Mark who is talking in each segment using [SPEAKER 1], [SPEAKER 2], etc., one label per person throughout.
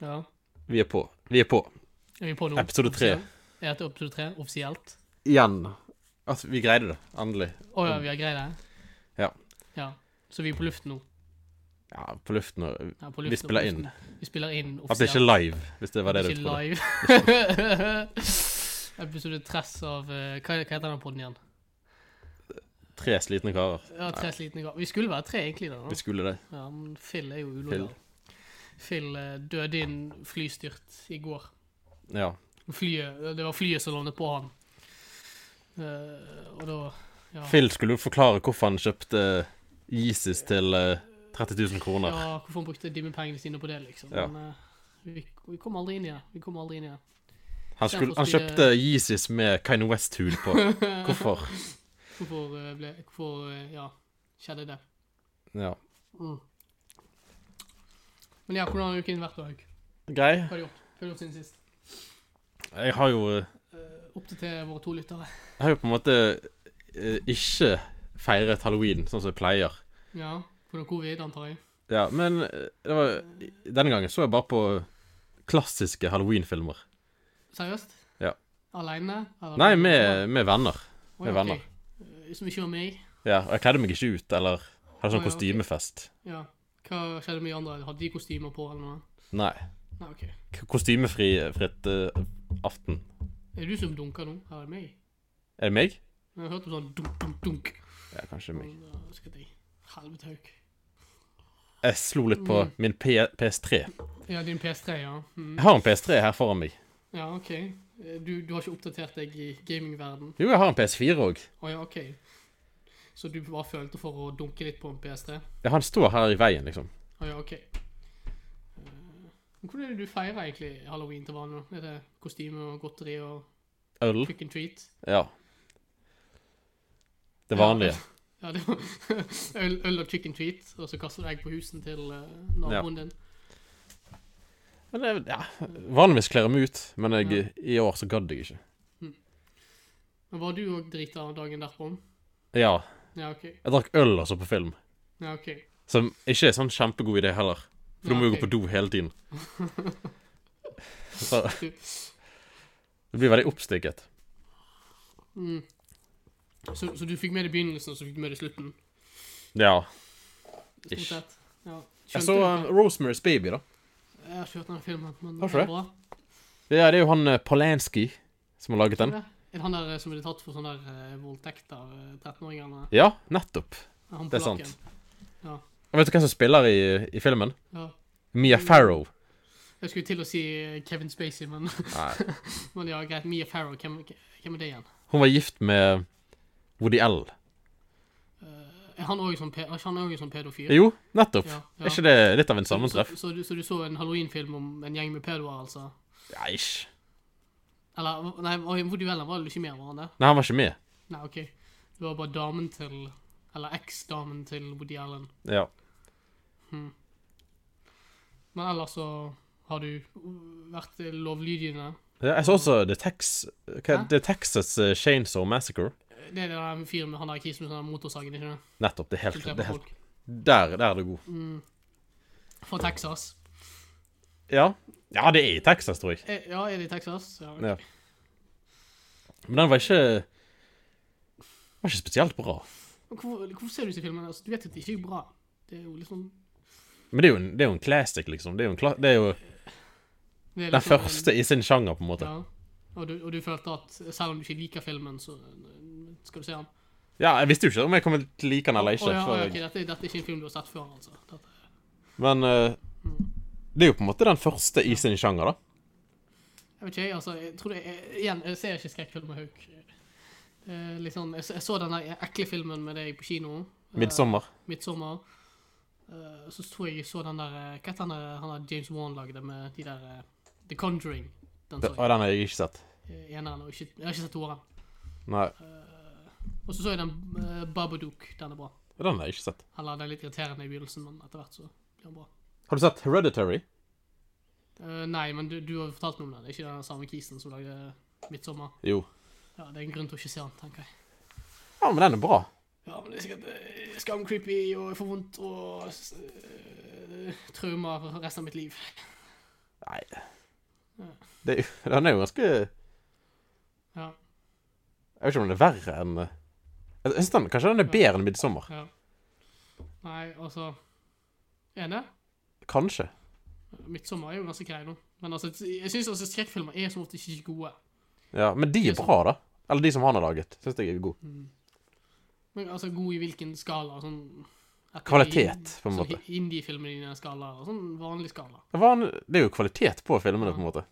[SPEAKER 1] Ja.
[SPEAKER 2] Vi er på. Vi er på.
[SPEAKER 1] Er vi på nå?
[SPEAKER 2] Episode tre.
[SPEAKER 1] Offisiell? Er dette episode tre offisielt?
[SPEAKER 2] Igjen. Altså, vi greide det. Endelig.
[SPEAKER 1] Å ja, vi har greid det?
[SPEAKER 2] Ja.
[SPEAKER 1] ja. Så vi er på luften nå?
[SPEAKER 2] Ja, på luften og
[SPEAKER 1] Ja, på
[SPEAKER 2] Vi
[SPEAKER 1] luften, og på
[SPEAKER 2] spiller
[SPEAKER 1] luften. Vi spiller inn
[SPEAKER 2] At det ikke er live, hvis det var det du
[SPEAKER 1] Ikke
[SPEAKER 2] trodde.
[SPEAKER 1] live. Episode tress av eh, Hva, hva heter den podden igjen?
[SPEAKER 2] Tre slitne karer.
[SPEAKER 1] Ja, Tre slitne ganger. Vi skulle være tre, egentlig. da.
[SPEAKER 2] Vi skulle det.
[SPEAKER 1] Ja, men Phil er jo ulojal. Phil eh, døde i en flystyrt i går.
[SPEAKER 2] Ja.
[SPEAKER 1] Flyet, det var flyet som landet på han. Eh, og da ja.
[SPEAKER 2] Phil skulle jo forklare hvorfor han kjøpte Yeezys til eh, 30 000 kroner.
[SPEAKER 1] Ja, hvorfor han brukte de med pengene sine på det, liksom.
[SPEAKER 2] Sånn Ja.
[SPEAKER 1] Men eh, vi, vi kom aldri inn i det. Vi kom aldri inn i det.
[SPEAKER 2] Han, skulle,
[SPEAKER 1] Istedenfor
[SPEAKER 2] han
[SPEAKER 1] å
[SPEAKER 2] kjøpte Yeezys med Kine West-hud på. Hvorfor?
[SPEAKER 1] Hvorfor, eh, ble, hvorfor eh, ja, skjedde det?
[SPEAKER 2] Ja.
[SPEAKER 1] Men ja, hvordan har uken vært, da? Haug?
[SPEAKER 2] Grei.
[SPEAKER 1] Hva har du gjort? Hva har du gjort siden sist?
[SPEAKER 2] Jeg har jo eh,
[SPEAKER 1] Eh, Oppdater våre to lyttere.
[SPEAKER 2] Jeg har jo på en måte eh, ikke feiret halloween sånn som jeg pleier.
[SPEAKER 1] Ja, pga. covid, antar jeg.
[SPEAKER 2] Ja, men eh, det var, denne gangen så jeg bare på klassiske halloween-filmer.
[SPEAKER 1] Seriøst?
[SPEAKER 2] Ja.
[SPEAKER 1] Aleine?
[SPEAKER 2] Nei, med, med venner. med venner.
[SPEAKER 1] Som ikke var meg?
[SPEAKER 2] Ja, og jeg kledde meg ikke ut, eller
[SPEAKER 1] Å,
[SPEAKER 2] hadde sånn
[SPEAKER 1] ja, ok.
[SPEAKER 2] kostymefest.
[SPEAKER 1] Ja. Hva skjedde med de andre? Hadde de kostymer på, eller noe?
[SPEAKER 2] Nei.
[SPEAKER 1] Nei, OK.
[SPEAKER 2] K- Kostymefri fritt eh, aften.
[SPEAKER 1] Er det du som dunker nå? Eller er det meg?
[SPEAKER 2] Er det meg?
[SPEAKER 1] Jeg har hørt om sånn dunk, dunk, dunk.
[SPEAKER 2] Ja, kanskje meg.
[SPEAKER 1] Men, uh, skal jeg- Helvete hauk.
[SPEAKER 2] Jeg slo litt
[SPEAKER 1] Mm.
[SPEAKER 2] på min P PS3.
[SPEAKER 1] Ja, din PS3, ja. Mm.
[SPEAKER 2] Jeg har en PS3 her foran meg.
[SPEAKER 1] Ja, OK. Eh, Du, du har ikke oppdatert deg i gamingverden.
[SPEAKER 2] Jo, jeg har en PS4 òg.
[SPEAKER 1] Å ja, OK. Så du bare følte for å dunke litt på en PS3?
[SPEAKER 2] Han står her i veien, liksom.
[SPEAKER 1] Å ja, OK. Eh, men Hvordan er det du feirer egentlig halloween til vanlig? Er det kostyme og godteri og
[SPEAKER 2] Øl.
[SPEAKER 1] trick and treat?
[SPEAKER 2] Ja. Det vanlige.
[SPEAKER 1] Ja, det var øl, øl og chicken treat, og så kaster du egg på husen til eh, naboen din.
[SPEAKER 2] Men det, ja, Vanligvis kler jeg meg ut, men jeg, i år så gadd jeg ikke.
[SPEAKER 1] Men var du òg drita dagen derpå?
[SPEAKER 2] Ja,
[SPEAKER 1] Ja, OK.
[SPEAKER 2] jeg drakk øl altså på film,
[SPEAKER 1] Ja, ok.
[SPEAKER 2] som ikke er sånn kjempegod idé heller. For
[SPEAKER 1] Ja,
[SPEAKER 2] du må jo
[SPEAKER 1] ok.
[SPEAKER 2] gå på do hele tiden. Så
[SPEAKER 1] Du,
[SPEAKER 2] det blir veldig oppstykket.
[SPEAKER 1] mm. så, så du fikk med deg begynnelsen, og så fikk du med deg slutten?
[SPEAKER 2] Ja.
[SPEAKER 1] Stort
[SPEAKER 2] Ish.
[SPEAKER 1] sett. Ja.
[SPEAKER 2] Jeg så eh,
[SPEAKER 1] Skjønte du?
[SPEAKER 2] Rosemary's Baby, da.
[SPEAKER 1] Jeg har ikke hørt den filmen, men
[SPEAKER 2] Har du det?
[SPEAKER 1] bra.
[SPEAKER 2] Ja, det er jo han eh, Polanski som har laget den.
[SPEAKER 1] Er det han der eh, som ble tatt for sånn der eh, voldtekt av eh, 13-åringene?
[SPEAKER 2] Ja, nettopp.
[SPEAKER 1] Han
[SPEAKER 2] Det er
[SPEAKER 1] polakken.
[SPEAKER 2] Og vet du hvem som spiller i, i filmen?
[SPEAKER 1] Ja.
[SPEAKER 2] Mia Farrow.
[SPEAKER 1] Jeg skulle til å si eh, Kevin Spacey, men,
[SPEAKER 2] Nei.
[SPEAKER 1] men ja, greit. Mia Farrow, hvem, hvem er det igjen?
[SPEAKER 2] Hun var gift med Woody L.
[SPEAKER 1] Er han òg sånn, pe- er ikke han også sånn pedofil?
[SPEAKER 2] Jo, nettopp.
[SPEAKER 1] Ja, ja.
[SPEAKER 2] Er ikke det litt av en sammentreff?
[SPEAKER 1] Så, så, du- så du så en halloweenfilm om en gjeng med pedoer, altså?
[SPEAKER 2] Ja, ish.
[SPEAKER 1] Eller nei, hvor duellen var det ikke mer, var han det?
[SPEAKER 2] Nei, han var ikke med.
[SPEAKER 1] Nei, OK. Det var bare damen til Eller eks-damen til Woody Allen.
[SPEAKER 2] Ja.
[SPEAKER 1] Men ellers så har du vært lovlydigende.
[SPEAKER 2] Ja, Jeg så også The, Tex hva,
[SPEAKER 1] Hæ?
[SPEAKER 2] The Texas eh, Chainsaw Massacre.
[SPEAKER 1] Det er det der fyren med han der kisen med sånn motorsagen, ikke det?
[SPEAKER 2] Nettopp. Det er helt,
[SPEAKER 1] Som
[SPEAKER 2] det
[SPEAKER 1] dreper
[SPEAKER 2] er helt
[SPEAKER 1] folk.
[SPEAKER 2] der, der er det god.
[SPEAKER 1] Fra Texas.
[SPEAKER 2] Ja. ja, det er i Texas, tror jeg.
[SPEAKER 1] Eh, Ja, er det i Texas? Ja. ok.
[SPEAKER 2] Ja. Men den var ikke Den var ikke spesielt bra.
[SPEAKER 1] Men Hvorfor, hvorfor ser du disse filmene? Altså, du vet at det ikke er bra. Det er jo liksom
[SPEAKER 2] Men det er jo en, det er jo en classic, liksom. Det er jo, en kla det er jo
[SPEAKER 1] det er
[SPEAKER 2] den
[SPEAKER 1] liksom-
[SPEAKER 2] første i sin sjanger, på en måte.
[SPEAKER 1] Ja. Og du, og du følte at selv om du ikke liker filmen, så eh, skal du se den.
[SPEAKER 2] Ja, jeg visste jo ikke om jeg kom til å like den eller
[SPEAKER 1] Å
[SPEAKER 2] ikke.
[SPEAKER 1] ja,
[SPEAKER 2] før
[SPEAKER 1] ja,
[SPEAKER 2] jeg-
[SPEAKER 1] ok, dette, dette er ikke en film du har sett før, altså. Dette.
[SPEAKER 2] Men eh, det er jo på en måte den første i sin sjanger, da.
[SPEAKER 1] Jeg vet ikke, jeg, altså. Jeg tror det er, igjen, jeg ser ikke skrekkfilmer, Hauk. Eh, litt sånn, jeg, så- jeg så den der ekle filmen med deg på kino. Eh,
[SPEAKER 2] Midtsommer.
[SPEAKER 1] Midtsommer. Eh, så tror jeg jeg så den der eh, Hva heter han der han der James Wan lagde med de der eh, The Conjuring? Den
[SPEAKER 2] Det-
[SPEAKER 1] så
[SPEAKER 2] Og den har jeg ikke sett.
[SPEAKER 1] jeg. Eh, Eneren og ikke Jeg har ikke sett toeren.
[SPEAKER 2] Nei,
[SPEAKER 1] Og så så jeg den uh, Babadook. Den er bra.
[SPEAKER 2] den har jeg ikke sett.
[SPEAKER 1] Eller den er litt irriterende i begynnelsen, men etter hvert så blir den bra.
[SPEAKER 2] Har du sett Hereditary?
[SPEAKER 1] Eh, nei, men du, du har jo fortalt meg om den. Det er ikke den samme kisen som lagde Midtsommer.
[SPEAKER 2] Jo.
[SPEAKER 1] Ja, det er en grunn til å ikke se den, tenker jeg.
[SPEAKER 2] Ja, men den er bra.
[SPEAKER 1] Ja, men det er sikkert eh, skamcreepy, og jeg får vondt og eh, traumer for resten av mitt liv.
[SPEAKER 2] Nei det, er jo- Den er jo ganske Jeg
[SPEAKER 1] Ja.
[SPEAKER 2] vet ikke om den er verre enn eh, jeg synes den, Kanskje den er bedre enn 'Midtsommer'?
[SPEAKER 1] ja. Nei, altså Er det?
[SPEAKER 2] Kanskje.
[SPEAKER 1] Midtsommer er jo ganske grei nå. Men altså, jeg syns altså, skrekkfilmer er som ofte ikke gode.
[SPEAKER 2] Ja, Men de er bra, da. Eller de som han har laget. Syns jeg er gode.
[SPEAKER 1] Men altså, god i hvilken skala? Sånn etter-
[SPEAKER 2] Kvalitet, på en måte.
[SPEAKER 1] Sånn Indie-filmer i den skala, og sånn vanlig skala.
[SPEAKER 2] Det, var en, det er jo kvalitet på filmene, på en måte.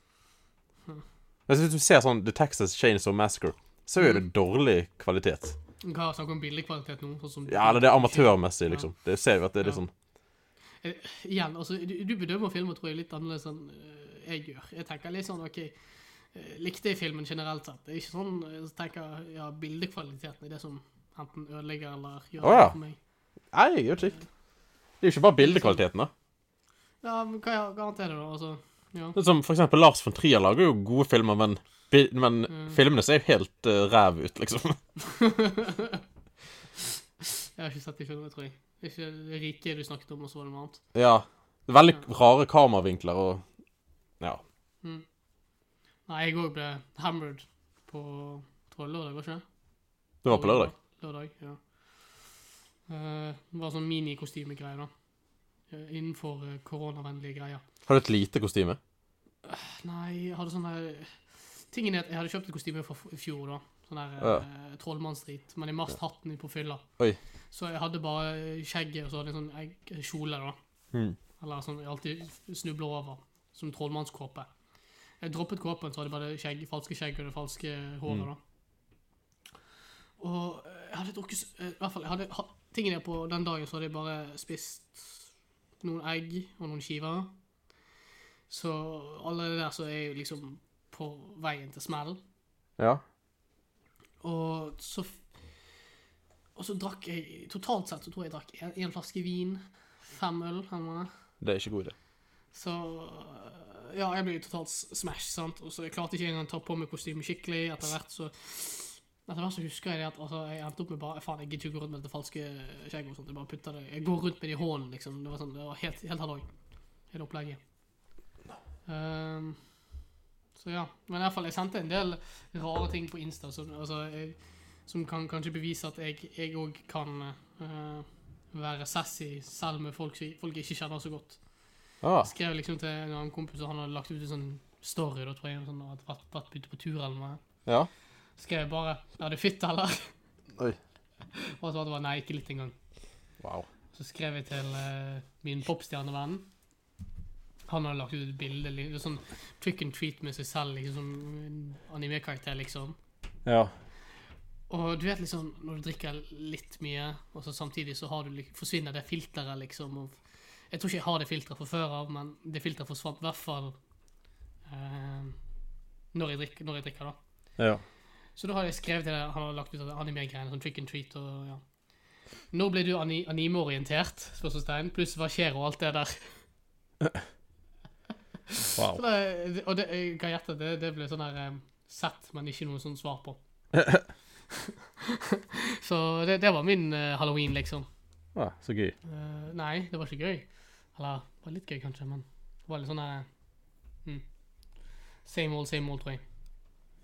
[SPEAKER 2] Hmm. Men Hvis du ser sånn The Texas Chainsaw Massacre, så er jo det dårlig kvalitet.
[SPEAKER 1] Hva snakker om billigkvalitet nå? Sånn som
[SPEAKER 2] Ja, eller det er amatørmessig, liksom. Det ser vi at det er litt
[SPEAKER 1] Ja.
[SPEAKER 2] sånn
[SPEAKER 1] Eh, Igjen, altså, du, du bedømmer filmer tror jeg litt annerledes enn eh, jeg gjør. Jeg tenker litt sånn, ok, eh, likte jeg filmen generelt sett? Det er ikke sånn, jeg tenker, ja, bildekvaliteten er det som enten ødelegger eller gjør
[SPEAKER 2] Å, ja.
[SPEAKER 1] det for meg.
[SPEAKER 2] Nei, jeg gjør ikke. Det er jo ikke bare bildekvaliteten, da.
[SPEAKER 1] Ja, men hva, hva annet er det da, altså? Ja.
[SPEAKER 2] Det er som for eksempel Lars von Trier lager jo gode filmer, men, bi- men filmene ser jo helt eh, ræv ut, liksom.
[SPEAKER 1] Jeg har ikke sett de filmene, tror jeg. Det er ikke det rike du snakket om, og så var det noe annet.
[SPEAKER 2] Ja. Det er Veldig rare kameravinkler og Ja.
[SPEAKER 1] Nei, jeg òg ble hammered på tror jeg lørdag, var ikke det?
[SPEAKER 2] Det var på lørdag.
[SPEAKER 1] Lørdag, ja. Eh, det var sånn minikostymegreier, da. Eh, Innenfor eh, koronavennlige greier.
[SPEAKER 2] Har du et lite kostyme?
[SPEAKER 1] Nei, jeg hadde sånn der Tingen er at jeg hadde kjøpt et kostyme fra f- i fjor, da. Sånn der
[SPEAKER 2] Ja.
[SPEAKER 1] eh, trollmannsdrit. Men jeg mast hatten min på fylla.
[SPEAKER 2] Oi.
[SPEAKER 1] Så jeg hadde bare skjegget og så hadde jeg sånn egg- kjole, da.
[SPEAKER 2] Mm.
[SPEAKER 1] Eller sånn jeg alltid snubler over. Som trollmannskåpe. Jeg droppet kåpen, så hadde jeg bare skjegg, falske skjegg og det falske håret, da. Og eh, jeg hadde drukket s- eh, I hvert fall, jeg hadde ha, tingen er på den dagen så hadde jeg bare spist noen egg og noen skiver. Så allerede der så er jeg jo liksom på veien til smell.
[SPEAKER 2] Ja.
[SPEAKER 1] Og så f- Og så drakk jeg Totalt sett så tror jeg jeg drakk en, en flaske vin, fem øl, eller noe.
[SPEAKER 2] Det er ikke god idé.
[SPEAKER 1] Så eh, Ja, jeg ble jo totalt s- smash, sant. Og så jeg klarte ikke engang å ta på meg kostymet skikkelig. Etter hvert så etter hvert så husker jeg det at altså, jeg endte opp med bare Faen, jeg gidder ikke gå rundt med dette falske skjegget. og sånt, Jeg bare putter det Jeg går rundt med det i hånden, liksom. Det var sånn, det var helt, helt halloi. Hele opplegget. Ehm, så ja. Men i hvert fall, jeg sendte en del rare ting på Insta som, altså, jeg, som kan kanskje bevise at jeg òg kan eh, være sassy selv med folk, som- folk jeg ikke kjenner så godt
[SPEAKER 2] Ah,
[SPEAKER 1] skrev liksom til en annen kompis, og han hadde lagt ut en sånn story, da tror jeg, sånn, at vært, vært ute på tur eller noe.
[SPEAKER 2] ja.
[SPEAKER 1] Skrev jeg bare, er det fitt eller?
[SPEAKER 2] Oi.
[SPEAKER 1] Og så var det bare, nei, ikke litt engang.
[SPEAKER 2] Wow.
[SPEAKER 1] Så skrev jeg til eh, min popstjernevenn. Han hadde lagt ut et bilde, liksom, sånn trick and treat med seg selv, liksom, som en anime-karakter, liksom.
[SPEAKER 2] Ja.
[SPEAKER 1] Og du vet liksom, når du drikker litt mye, og så samtidig så har du, lik- forsvinner det filteret, liksom. Og jeg tror ikke jeg har det filteret fra før av, men det filteret forsvant i hvert fall eh, når, jeg drikker, når jeg drikker, da.
[SPEAKER 2] Ja.
[SPEAKER 1] Så da har jeg skrevet til deg, han har lagt ut anime-greiene, sånn trick and treat og ja. Nå ble du ani anime-orientert, spørsmålstegn, pluss hva skjer og alt det der. Så
[SPEAKER 2] Wow.
[SPEAKER 1] det, og det, jeg kan gjette, at det, det ble sånn her eh, sett, men ikke noe sånn svar på. så det, det var min eh, halloween, liksom.
[SPEAKER 2] Ah, så gøy.
[SPEAKER 1] Eh, nei, det var ikke gøy. Eller, det var litt gøy kanskje, men det var litt sånn her... mm. Same old, same old, tror jeg.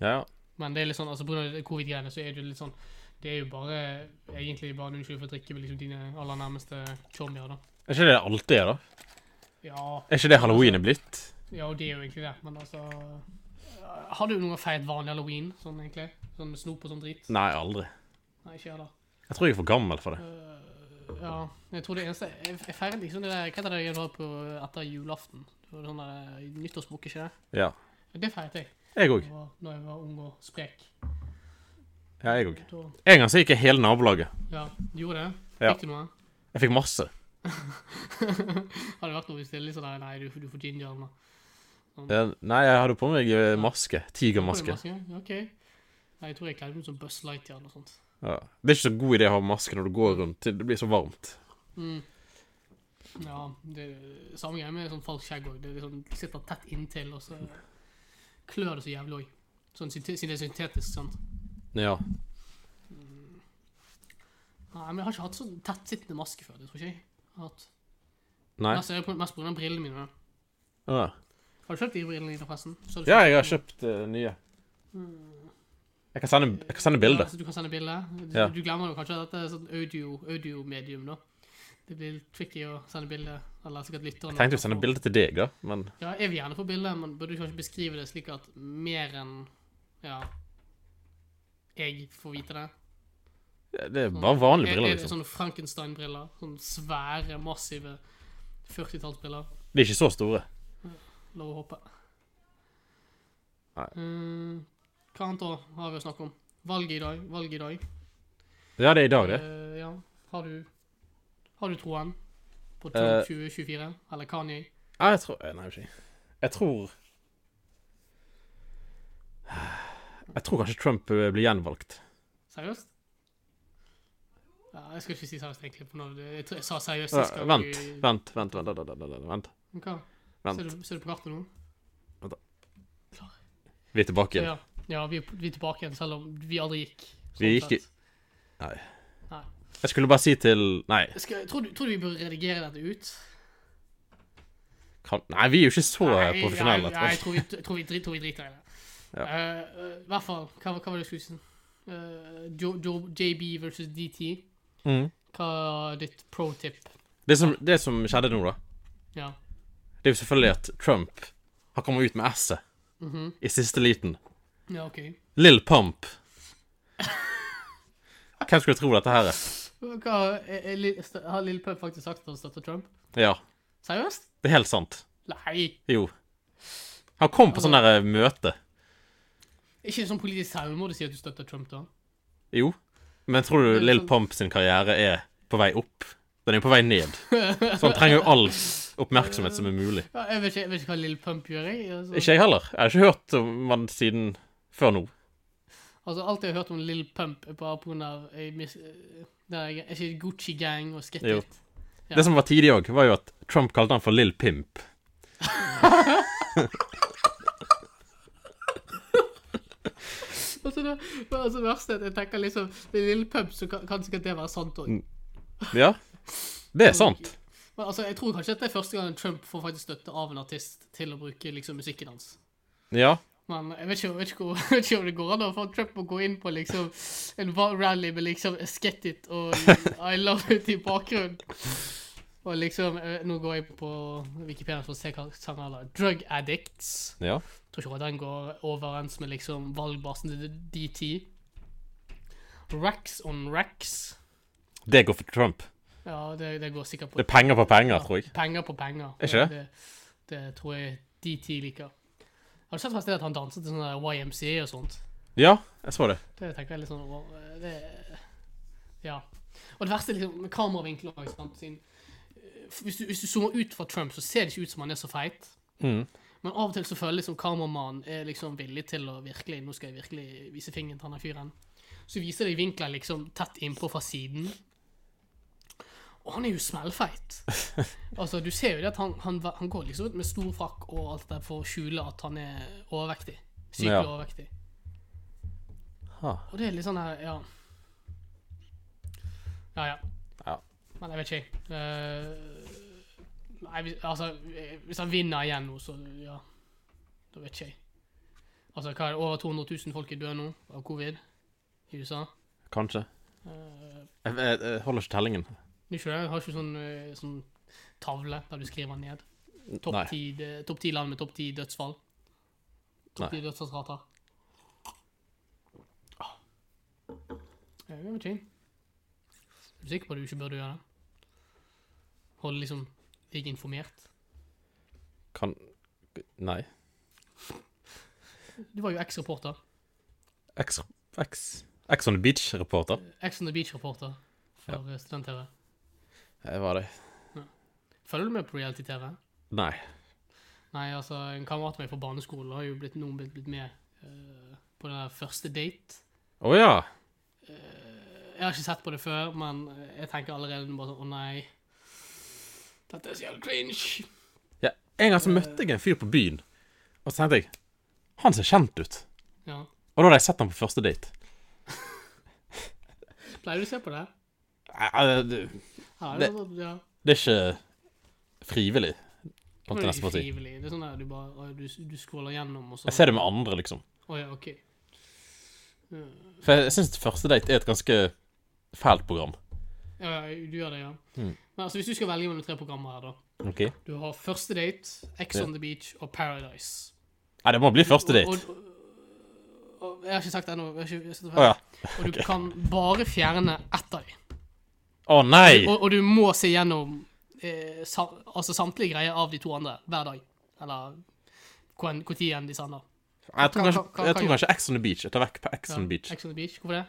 [SPEAKER 2] Ja.
[SPEAKER 1] Men det er litt sånn, altså på grunn av det covid-greiene, så er det jo litt sånn Det er jo bare egentlig bare en unnskyld for å drikke med liksom dine aller nærmeste chommier, da.
[SPEAKER 2] Er ikke det det alltid er, da?
[SPEAKER 1] Ja,
[SPEAKER 2] Er ikke det halloween er blitt?
[SPEAKER 1] ja, og det er jo egentlig det, men altså eh, Har du noen gang feiret vanlig halloween, sånn egentlig? Sånn med snop og sånn drit?
[SPEAKER 2] Nei, aldri.
[SPEAKER 1] Nei, ikke jeg, da. Eh,
[SPEAKER 2] Jeg tror jeg er for gammel for det.
[SPEAKER 1] Ja, jeg tror det eneste Jeg, jeg feiret liksom det der Hva heter det jeg var på etter julaften? Det var sånn der nyttårsbukk, ikke det?
[SPEAKER 2] Ja.
[SPEAKER 1] Det feiret jeg da
[SPEAKER 2] Jeg òg.
[SPEAKER 1] jeg var- da jeg var ung og sprek.
[SPEAKER 2] Ja, jeg òg.
[SPEAKER 1] Da,
[SPEAKER 2] En gang så gikk jeg hele nabolaget.
[SPEAKER 1] ja, du gjorde det?
[SPEAKER 2] Ja.
[SPEAKER 1] Fikk du noe?
[SPEAKER 2] Jeg fikk masse.
[SPEAKER 1] Hadde det vært noe hvis det er litt sånn der, Nei, du, du får ginger eller noe.
[SPEAKER 2] Eh, Nei, jeg hadde på meg eh, maske. Tigermaske.
[SPEAKER 1] Maske? Ok. Nei, jeg tror jeg kledde meg ut som Buzz Lightyear eller noe sånt.
[SPEAKER 2] Ja. Det er ikke så god idé å ha maske når du går rundt. Det blir så varmt.
[SPEAKER 1] Mm. Ja, det samme greie med sånn falskt skjegg òg. Det er liksom, sitter tett inntil, og så klør det så jævlig òg. Sånn synte- siden det er syntetisk, sånn. sant.
[SPEAKER 2] Ja.
[SPEAKER 1] Nei, men jeg har ikke hatt sånn tettsittende maske før. Det tror ikke jeg. jeg har hatt.
[SPEAKER 2] Nei.
[SPEAKER 1] Mest, jeg har på- mest på grunn av brillene mine. da.
[SPEAKER 2] Ja.
[SPEAKER 1] For Har du kjøpt de brillene dine, forresten? Så du
[SPEAKER 2] Ja, jeg har kjøpt eh, nye.
[SPEAKER 1] Hmm.
[SPEAKER 2] Jeg kan sende, jeg kan sende
[SPEAKER 1] Ja,
[SPEAKER 2] bilder.
[SPEAKER 1] så du kan sende bilder. Du,
[SPEAKER 2] Ja.
[SPEAKER 1] du glemmer jo kanskje at dette er sånn audio, audiomedium, da. Det blir litt tricky å sende bilder. Eller sikkert lytterne.
[SPEAKER 2] Jeg tenkte jo å sende bilder til deg, da, men
[SPEAKER 1] Ja, jeg vil gjerne få bilder, men burde du kanskje beskrive det slik at mer enn Ja. Jeg får vite det.
[SPEAKER 2] ja, det er bare vanlige
[SPEAKER 1] Er-
[SPEAKER 2] briller,
[SPEAKER 1] er det
[SPEAKER 2] liksom.
[SPEAKER 1] Sånne Frankenstein-briller. Sånne svære, massive 40-tallsbriller.
[SPEAKER 2] De er ikke så store.
[SPEAKER 1] Lov å håpe.
[SPEAKER 2] Nei.
[SPEAKER 1] Mm, hva annet da har vi å snakke om? Valget i dag. Valget i dag.
[SPEAKER 2] Ja, det er i dag, det.
[SPEAKER 1] Eh, ja. Har du Har du troen på
[SPEAKER 2] Eh.
[SPEAKER 1] Trump 2024? Eller Kanye?
[SPEAKER 2] Ja, jeg tror eh, Nei, ikke Jeg tror Jeg tror kanskje Trump eh, blir gjenvalgt.
[SPEAKER 1] Seriøst? Ja, jeg skal ikke si seriøst, egentlig. For når du, jeg, tror- jeg sa seriøst
[SPEAKER 2] Ja,
[SPEAKER 1] sist gang.
[SPEAKER 2] Eh, Vent,
[SPEAKER 1] du-
[SPEAKER 2] vent, vent. vent, vent, vent, vent, vent.
[SPEAKER 1] Men Hva?
[SPEAKER 2] Vent.
[SPEAKER 1] Ser, du, ser du på kartet nå?
[SPEAKER 2] Vi er tilbake igjen.
[SPEAKER 1] Ja, ja vi, er- vi er tilbake igjen, selv om vi aldri gikk. sånn
[SPEAKER 2] Vi gikk i-
[SPEAKER 1] sett.
[SPEAKER 2] Nei.
[SPEAKER 1] Nei.
[SPEAKER 2] Jeg skulle bare si til Nei,
[SPEAKER 1] Skal, tror, du, tror du vi bør redigere dette ut?
[SPEAKER 2] kan, nei vi er jo ikke så eh,
[SPEAKER 1] Nei,
[SPEAKER 2] profesjonelle.
[SPEAKER 1] Nei, nei, jeg
[SPEAKER 2] tror jeg.
[SPEAKER 1] tror vi, jeg tror vi, drit, tror vi driter i det.
[SPEAKER 2] Ja.
[SPEAKER 1] Eh, eh, I hvert fall, hva, hva var det jeg skulle si? Eh, Jo- Jo- JB versus DT.
[SPEAKER 2] Mm.
[SPEAKER 1] Hva er ditt pro tip?
[SPEAKER 2] Det, som, det som skjedde nå, da,
[SPEAKER 1] Ja.
[SPEAKER 2] det er jo selvfølgelig at Trump har kommet ut med S-et
[SPEAKER 1] Mhm.
[SPEAKER 2] i siste liten.
[SPEAKER 1] ja, OK.
[SPEAKER 2] Lill Pump. Hvem skulle tro dette her er?
[SPEAKER 1] Hva, er, er, Lil- st- har Lille Pøp faktisk sagt at han støtter Trump?
[SPEAKER 2] Ja,
[SPEAKER 1] Seriøst?
[SPEAKER 2] det er helt sant.
[SPEAKER 1] Nei.
[SPEAKER 2] Jo. Han kom på sånn der eh, møte.
[SPEAKER 1] Ikke sånn politisk selvmord å si at du støtter Trump, da.
[SPEAKER 2] Jo. Men tror du
[SPEAKER 1] Det er
[SPEAKER 2] Lill
[SPEAKER 1] sånn-
[SPEAKER 2] Pump sin karriere er på vei opp? Den er jo på vei ned. Så han trenger jo all oppmerksomhet som er mulig.
[SPEAKER 1] Ja, jeg, vet ikke, jeg vet ikke hva Lille Pump gjør, jeg. Altså,
[SPEAKER 2] Ikke jeg heller. Jeg har ikke hørt om han siden før nå.
[SPEAKER 1] altså, alt jeg har hørt om Lille Pump, er bare på grunn av jeg mis, eh, der jeg, er ikke Gucci Gang og Sketch
[SPEAKER 2] Jo.
[SPEAKER 1] It. Ja.
[SPEAKER 2] Det som var tidlig òg, var jo at Trump kalte han for Lill Pimp.
[SPEAKER 1] Altså, det, men altså, det verste er at jeg tenker liksom Med Lille Pump så kan, kan sikkert det være sant òg.
[SPEAKER 2] Mm. Ja, det er sant.
[SPEAKER 1] Men altså, jeg tror kanskje at det er første gang Trump får faktisk støtte av en artist til å bruke liksom musikken hans.
[SPEAKER 2] Ja.
[SPEAKER 1] Men jeg vet ikke, jeg vet ikke, hvor- jeg vet ikke om det går an å få Trump å gå inn på liksom en va- rally med liksom Get It og I Love It i bakgrunnen. Og liksom eh, Nå går jeg på Wikipedia for å se hva sangen heter. Drug Addicts.
[SPEAKER 2] ja.
[SPEAKER 1] Tror ikke den går overens med liksom valgbasen til DT. Racks on racks.
[SPEAKER 2] Det går for Trump.
[SPEAKER 1] Ja, det, det går sikkert på
[SPEAKER 2] Det er penger på penger, tror jeg.
[SPEAKER 1] Penger på penger.
[SPEAKER 2] Er ikke det?
[SPEAKER 1] Det, det tror jeg DT liker. Har du sett forresten at han danset til sånn der YMCA og sånt?
[SPEAKER 2] Ja, jeg så det.
[SPEAKER 1] Det tenker jeg litt sånn over. Det, ja. Og det verste er liksom med kameravinkler også, sant? Siden, eh, hvis, du, hvis du zoomer ut fra Trump, så ser det ikke ut som han er så feit.
[SPEAKER 2] Mm.
[SPEAKER 1] Men av og til så føler jeg liksom kameramannen er liksom villig til å virkelig Nå skal jeg virkelig vise fingeren til han der fyren. Så viser de vinkler liksom tett innpå fra siden. Og han er jo smellfeit. Altså, du ser jo det at han, han, han går liksom ut med stor frakk og alt det der for å skjule at han er overvektig. Sykt
[SPEAKER 2] Ja.
[SPEAKER 1] overvektig.
[SPEAKER 2] Ah.
[SPEAKER 1] Og det er litt sånn her, ja Ja, ja.
[SPEAKER 2] Ja.
[SPEAKER 1] Men jeg vet ikke, jeg. Eh, nei, hvis- altså Hvis han vinner igjen nå, så ja. Da vet ikke jeg. Altså, hva er det, over 200 000 folk er døde nå av covid i USA?
[SPEAKER 2] Kanskje.
[SPEAKER 1] Eh,
[SPEAKER 2] Jeg, jeg, jeg holder ikke tellingen.
[SPEAKER 1] det er ikke det? Jeg har ikke sånn, eh, sånn tavle der du skriver ned.
[SPEAKER 2] Nei.
[SPEAKER 1] Topp ti de- topp ti land med topp ti dødsfall. Topp
[SPEAKER 2] Nei.
[SPEAKER 1] ti dødsfallsrater. Ah. Jeg vet ikke. Er du sikker på at du ikke burde gjøre det? Holde liksom deg informert.
[SPEAKER 2] Kan Nei.
[SPEAKER 1] Du var jo X-reporter.
[SPEAKER 2] X, X, X on the Beach-reporter.
[SPEAKER 1] X on the Beach-reporter for eh, student-TV. Eh,
[SPEAKER 2] Jeg var det.
[SPEAKER 1] Følger du med på reality-TV?
[SPEAKER 2] Nei.
[SPEAKER 1] Nei, altså, en kamerat av meg fra barneskolen har jo blitt, noen blitt, blitt med eh, på den der første date.
[SPEAKER 2] Å ja.
[SPEAKER 1] Eh, Jeg har ikke sett på det før, men jeg tenker allerede nå bare sånn Å nei. Dette er så jævlig cringe.
[SPEAKER 2] ja. En gang så møtte jeg en fyr på byen, og så tenkte jeg Han ser kjent ut.
[SPEAKER 1] Ja.
[SPEAKER 2] Og da hadde jeg sett ham på første date.
[SPEAKER 1] Pleier du å se på det?
[SPEAKER 2] Nei, Eh, Det,
[SPEAKER 1] Ja,
[SPEAKER 2] Det-
[SPEAKER 1] det, sånn ja.
[SPEAKER 2] det er ikke frivillig. på
[SPEAKER 1] Nå
[SPEAKER 2] til
[SPEAKER 1] er
[SPEAKER 2] neste
[SPEAKER 1] det
[SPEAKER 2] parti.
[SPEAKER 1] frivillig. Det er sånn der du bare å, du, du scroller gjennom, og så
[SPEAKER 2] Jeg ser det med andre, liksom.
[SPEAKER 1] Å ja, OK.
[SPEAKER 2] For jeg, jeg syns Første date er et ganske fælt program.
[SPEAKER 1] Ja, ja, du gjør det, ja.
[SPEAKER 2] Mm.
[SPEAKER 1] Men altså, hvis du skal velge mellom tre programmer her, da
[SPEAKER 2] Ok?
[SPEAKER 1] Du har Første date, Ex
[SPEAKER 2] Ja.
[SPEAKER 1] on the beach og Paradise.
[SPEAKER 2] Nei, det må bli Første date.
[SPEAKER 1] Og, og, og, jeg har ikke sagt det ennå. jeg har ikke- jeg sitter
[SPEAKER 2] Å ja.
[SPEAKER 1] ferdig. Og du kan bare fjerne ett av dem.
[SPEAKER 2] Å nei!
[SPEAKER 1] Og, og du må se gjennom eh, sa, altså samtlige greier av de to andre hver dag. Eller hvor enn- hvor tid enn de sender.
[SPEAKER 2] Jeg tror
[SPEAKER 1] hva-
[SPEAKER 2] kanskje,
[SPEAKER 1] hva- hva
[SPEAKER 2] jeg
[SPEAKER 1] kan
[SPEAKER 2] tror kanskje Ex on the Beach. Jeg tar vekk på Ex on the Beach.
[SPEAKER 1] Ex on the beach. Hvorfor det?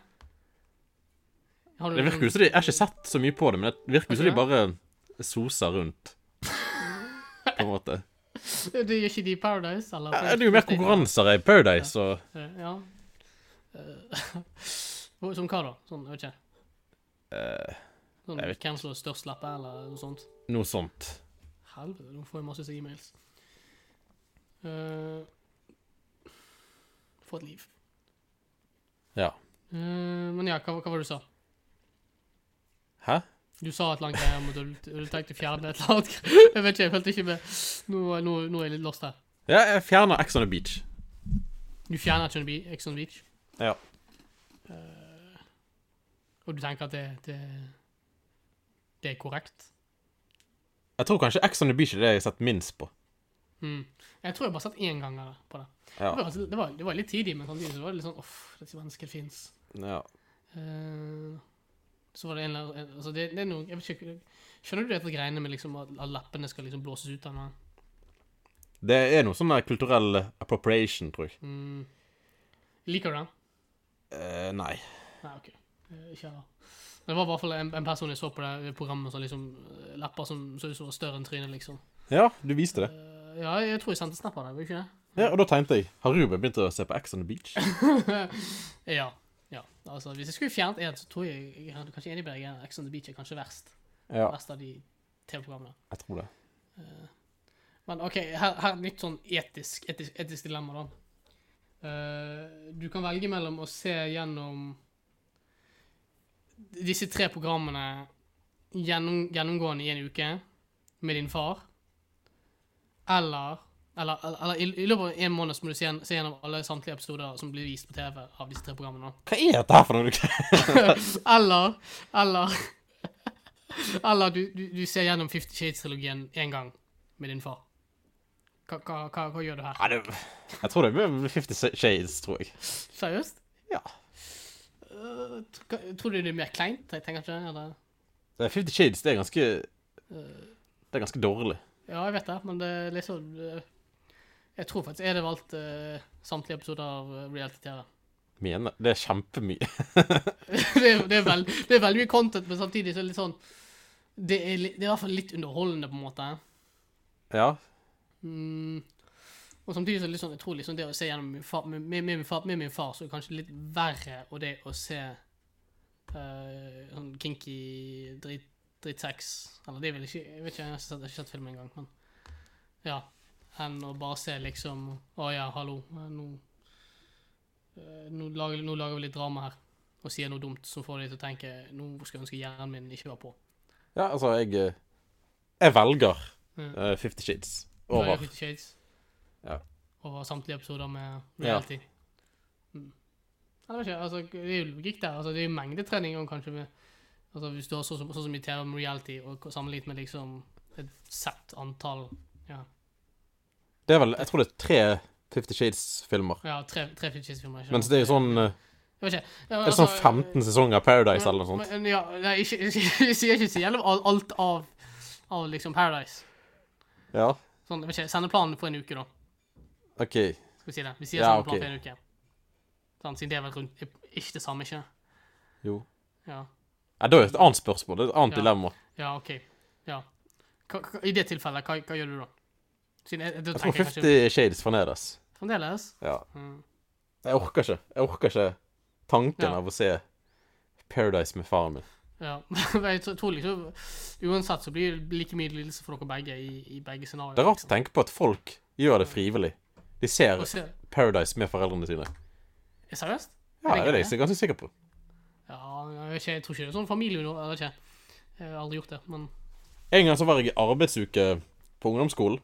[SPEAKER 1] Har du
[SPEAKER 2] Det virker jo som de Jeg har ikke sett så mye på det, men det virker jo som de bare soser rundt. På en måte.
[SPEAKER 1] Det gjør ikke de i Paradise, eller?
[SPEAKER 2] Ja, Det er jo mer konkurranser i Paradise, så
[SPEAKER 1] Ja. Eh, Som hva, da? Sånn, jeg vet ikke. Sånn,
[SPEAKER 2] Eh, jeg vet-
[SPEAKER 1] Hvem som har størst leppe, eller noe sånt?
[SPEAKER 2] noe sånt.
[SPEAKER 1] Helvete, nå får jeg masse e-mails. Eh, Få et liv.
[SPEAKER 2] Ja.
[SPEAKER 1] Eh, men ja, hva, hva var det du sa?
[SPEAKER 2] Hæ?
[SPEAKER 1] Du sa et langt greie om at du, du tenkte å fjerne et eller annet. Jeg vet ikke, jeg fulgte ikke med. Nå, nå, nå er jeg litt lost her.
[SPEAKER 2] Ja, jeg fjerner Ex on the Beach.
[SPEAKER 1] Du fjerner Exxon Beach, Exxon Beach
[SPEAKER 2] Ja.
[SPEAKER 1] og du tenker at det, det, det er korrekt?
[SPEAKER 2] Jeg tror kanskje Ex on the Beach er det jeg har sett minst på.
[SPEAKER 1] Mm. Jeg tror jeg bare satt én gang her på det.
[SPEAKER 2] Ja.
[SPEAKER 1] Det, var, altså- det, var, det var litt tidlig, men samtidig så var det litt sånn Uff, dette mennesket fins.
[SPEAKER 2] ja.
[SPEAKER 1] Eh, så var det en eller annen altså det, det er noe, jeg vet ikke, Skjønner du dette greiene med liksom at, at leppene skal liksom blåses ut av noe?
[SPEAKER 2] Det er noe sånn der kulturell appropriation, tror jeg.
[SPEAKER 1] Mm. Liker du den?
[SPEAKER 2] Eh, nei.
[SPEAKER 1] Nei, OK. Eh, Ikke heller. Men Det var i hvert fall en, en person jeg så på det programmet som liksom eh, Lepper som så ut som var større enn trynet, liksom.
[SPEAKER 2] Ja, du viste det.
[SPEAKER 1] Eh, ja, jeg tror jeg sendte snap av det, var det ikke det?
[SPEAKER 2] Ja, Og da tenkte jeg Har Ruben begynt å se på Ex on the Beach?
[SPEAKER 1] Ja. ja. Altså, hvis jeg skulle fjernet én, så tror jeg jeg er kanskje enig med deg. Ex on the Beach er kanskje verst.
[SPEAKER 2] Ja,
[SPEAKER 1] Verst av de TV-programmene.
[SPEAKER 2] jeg tror det.
[SPEAKER 1] Men OK, her, her er et nytt sånn etisk, etisk, etisk dilemma, da. Eh, du kan velge mellom å se gjennom disse tre programmene gjennom, gjennomgående i en uke med din far, eller eller, eller, eller i, i løpet av en måned så må du se, gjen- se gjennom alle samtlige episoder som blir vist på TV av disse tre programmene. da.
[SPEAKER 2] Hva er dette her for noe?
[SPEAKER 1] Eller Eller Eller du, du, du ser gjennom Fifty Shades-trilogien én gang med din far. Hva, hva, hva, hva gjør du her?
[SPEAKER 2] Nei, det... Jeg tror det er Fifty Shades, tror jeg.
[SPEAKER 1] Seriøst?
[SPEAKER 2] Ja.
[SPEAKER 1] Øh, tr- hva- tror du det er mer kleint? Jeg tenker ikke eller?
[SPEAKER 2] Det er Fifty Shades det er ganske Det er ganske dårlig.
[SPEAKER 1] Ja, jeg vet det, men det er liksom øh, Jeg tror faktisk jeg hadde valgt øh, samtlige episoder av øh, reality-TV.
[SPEAKER 2] Mener Det er kjempemye.
[SPEAKER 1] det, er- det, er vel- det er veldig mye content, men samtidig så er det litt sånn Det er, li- det er i hvert fall litt underholdende, på en måte.
[SPEAKER 2] Ja.
[SPEAKER 1] Mm. Og samtidig så er det litt sånn, jeg tror liksom det å se gjennom min far, med, med, med, min far, med min far, så er det kanskje litt verre og det å se eh, sånn kinky drit, drittsex. Eller det er vel ikke, jeg vet ikke, jeg har ikke sett, jeg har ikke sett filmen engang, men ja. Enn å bare se liksom, å ja, hallo, eh, nå, eh, nå, lager, nå lager vi litt drama her. Og sier noe dumt som får deg til å tenke, nå skulle jeg ønske hjernen min ikke var på.
[SPEAKER 2] Ja, altså, jeg eh, Jeg velger
[SPEAKER 1] Mm.
[SPEAKER 2] eh, Fifty Shades
[SPEAKER 1] Over.
[SPEAKER 2] over.
[SPEAKER 1] Fifty Shades.
[SPEAKER 2] Ja.
[SPEAKER 1] Over samtlige episoder med
[SPEAKER 2] Ja.
[SPEAKER 1] reality. Mm. Nei, det, var ikke, altså, det er jo logikk der. Altså, det er jo mengdetrening og kanskje med altså, Hvis du har så, så, sånn som i TV med reality og sammenlignet med liksom et sett antall Ja,
[SPEAKER 2] Det er vel Jeg tror det er tre Fifty Shades-filmer.
[SPEAKER 1] ja tre, tre Fifty Shades-filmer.
[SPEAKER 2] Mens det er jo sånn eh,
[SPEAKER 1] Jeg vet ikke. Ja, altså,
[SPEAKER 2] Det er sånn 15 sesonger av Paradise eller noe sånt.
[SPEAKER 1] Men, ja, nei, ikke, ikke, jeg sier ikke så jævlig alt- alt av, av liksom Paradise.
[SPEAKER 2] Ja,
[SPEAKER 1] Sånn, jeg vet ikke, Sendeplanen på en uke, da.
[SPEAKER 2] OK.
[SPEAKER 1] Skal vi si det. Vi sier
[SPEAKER 2] Ja,
[SPEAKER 1] sendeplan
[SPEAKER 2] ok.
[SPEAKER 1] på en uke. Sånn, siden det er vel rundt Ikke det samme, ikke?
[SPEAKER 2] Jo.
[SPEAKER 1] Ja.
[SPEAKER 2] Ja, da er det et annet spørsmål. Det er et annet
[SPEAKER 1] Ja.
[SPEAKER 2] dilemma.
[SPEAKER 1] Ja, OK. Ja. Hva, hva, I det tilfellet, hva, hva gjør du da? Siden jeg, da
[SPEAKER 2] Jeg tror
[SPEAKER 1] tenker jeg
[SPEAKER 2] 50
[SPEAKER 1] kanskje
[SPEAKER 2] Shades fornedes.
[SPEAKER 1] Fremdeles?
[SPEAKER 2] Ja.
[SPEAKER 1] Mm.
[SPEAKER 2] Jeg orker ikke. Jeg orker ikke tanken
[SPEAKER 1] Ja.
[SPEAKER 2] av å se Paradise med faren min.
[SPEAKER 1] Ja. Men jeg tror- tror liksom Uansett så blir det like mye lidelse for dere begge i, i begge scenarioer.
[SPEAKER 2] Det er rart å tenke på at folk gjør det frivillig. De ser
[SPEAKER 1] Å se-
[SPEAKER 2] Paradise med foreldrene sine.
[SPEAKER 1] er Seriøst?
[SPEAKER 2] Ja, det
[SPEAKER 1] Er det
[SPEAKER 2] er
[SPEAKER 1] gøy?
[SPEAKER 2] jeg ganske sikker på.
[SPEAKER 1] Ja, jeg, vet ikke, jeg tror ikke det er sånn familie nå. Jeg vet ikke. Jeg har aldri gjort det, men
[SPEAKER 2] En gang så var jeg i arbeidsuke på ungdomsskolen.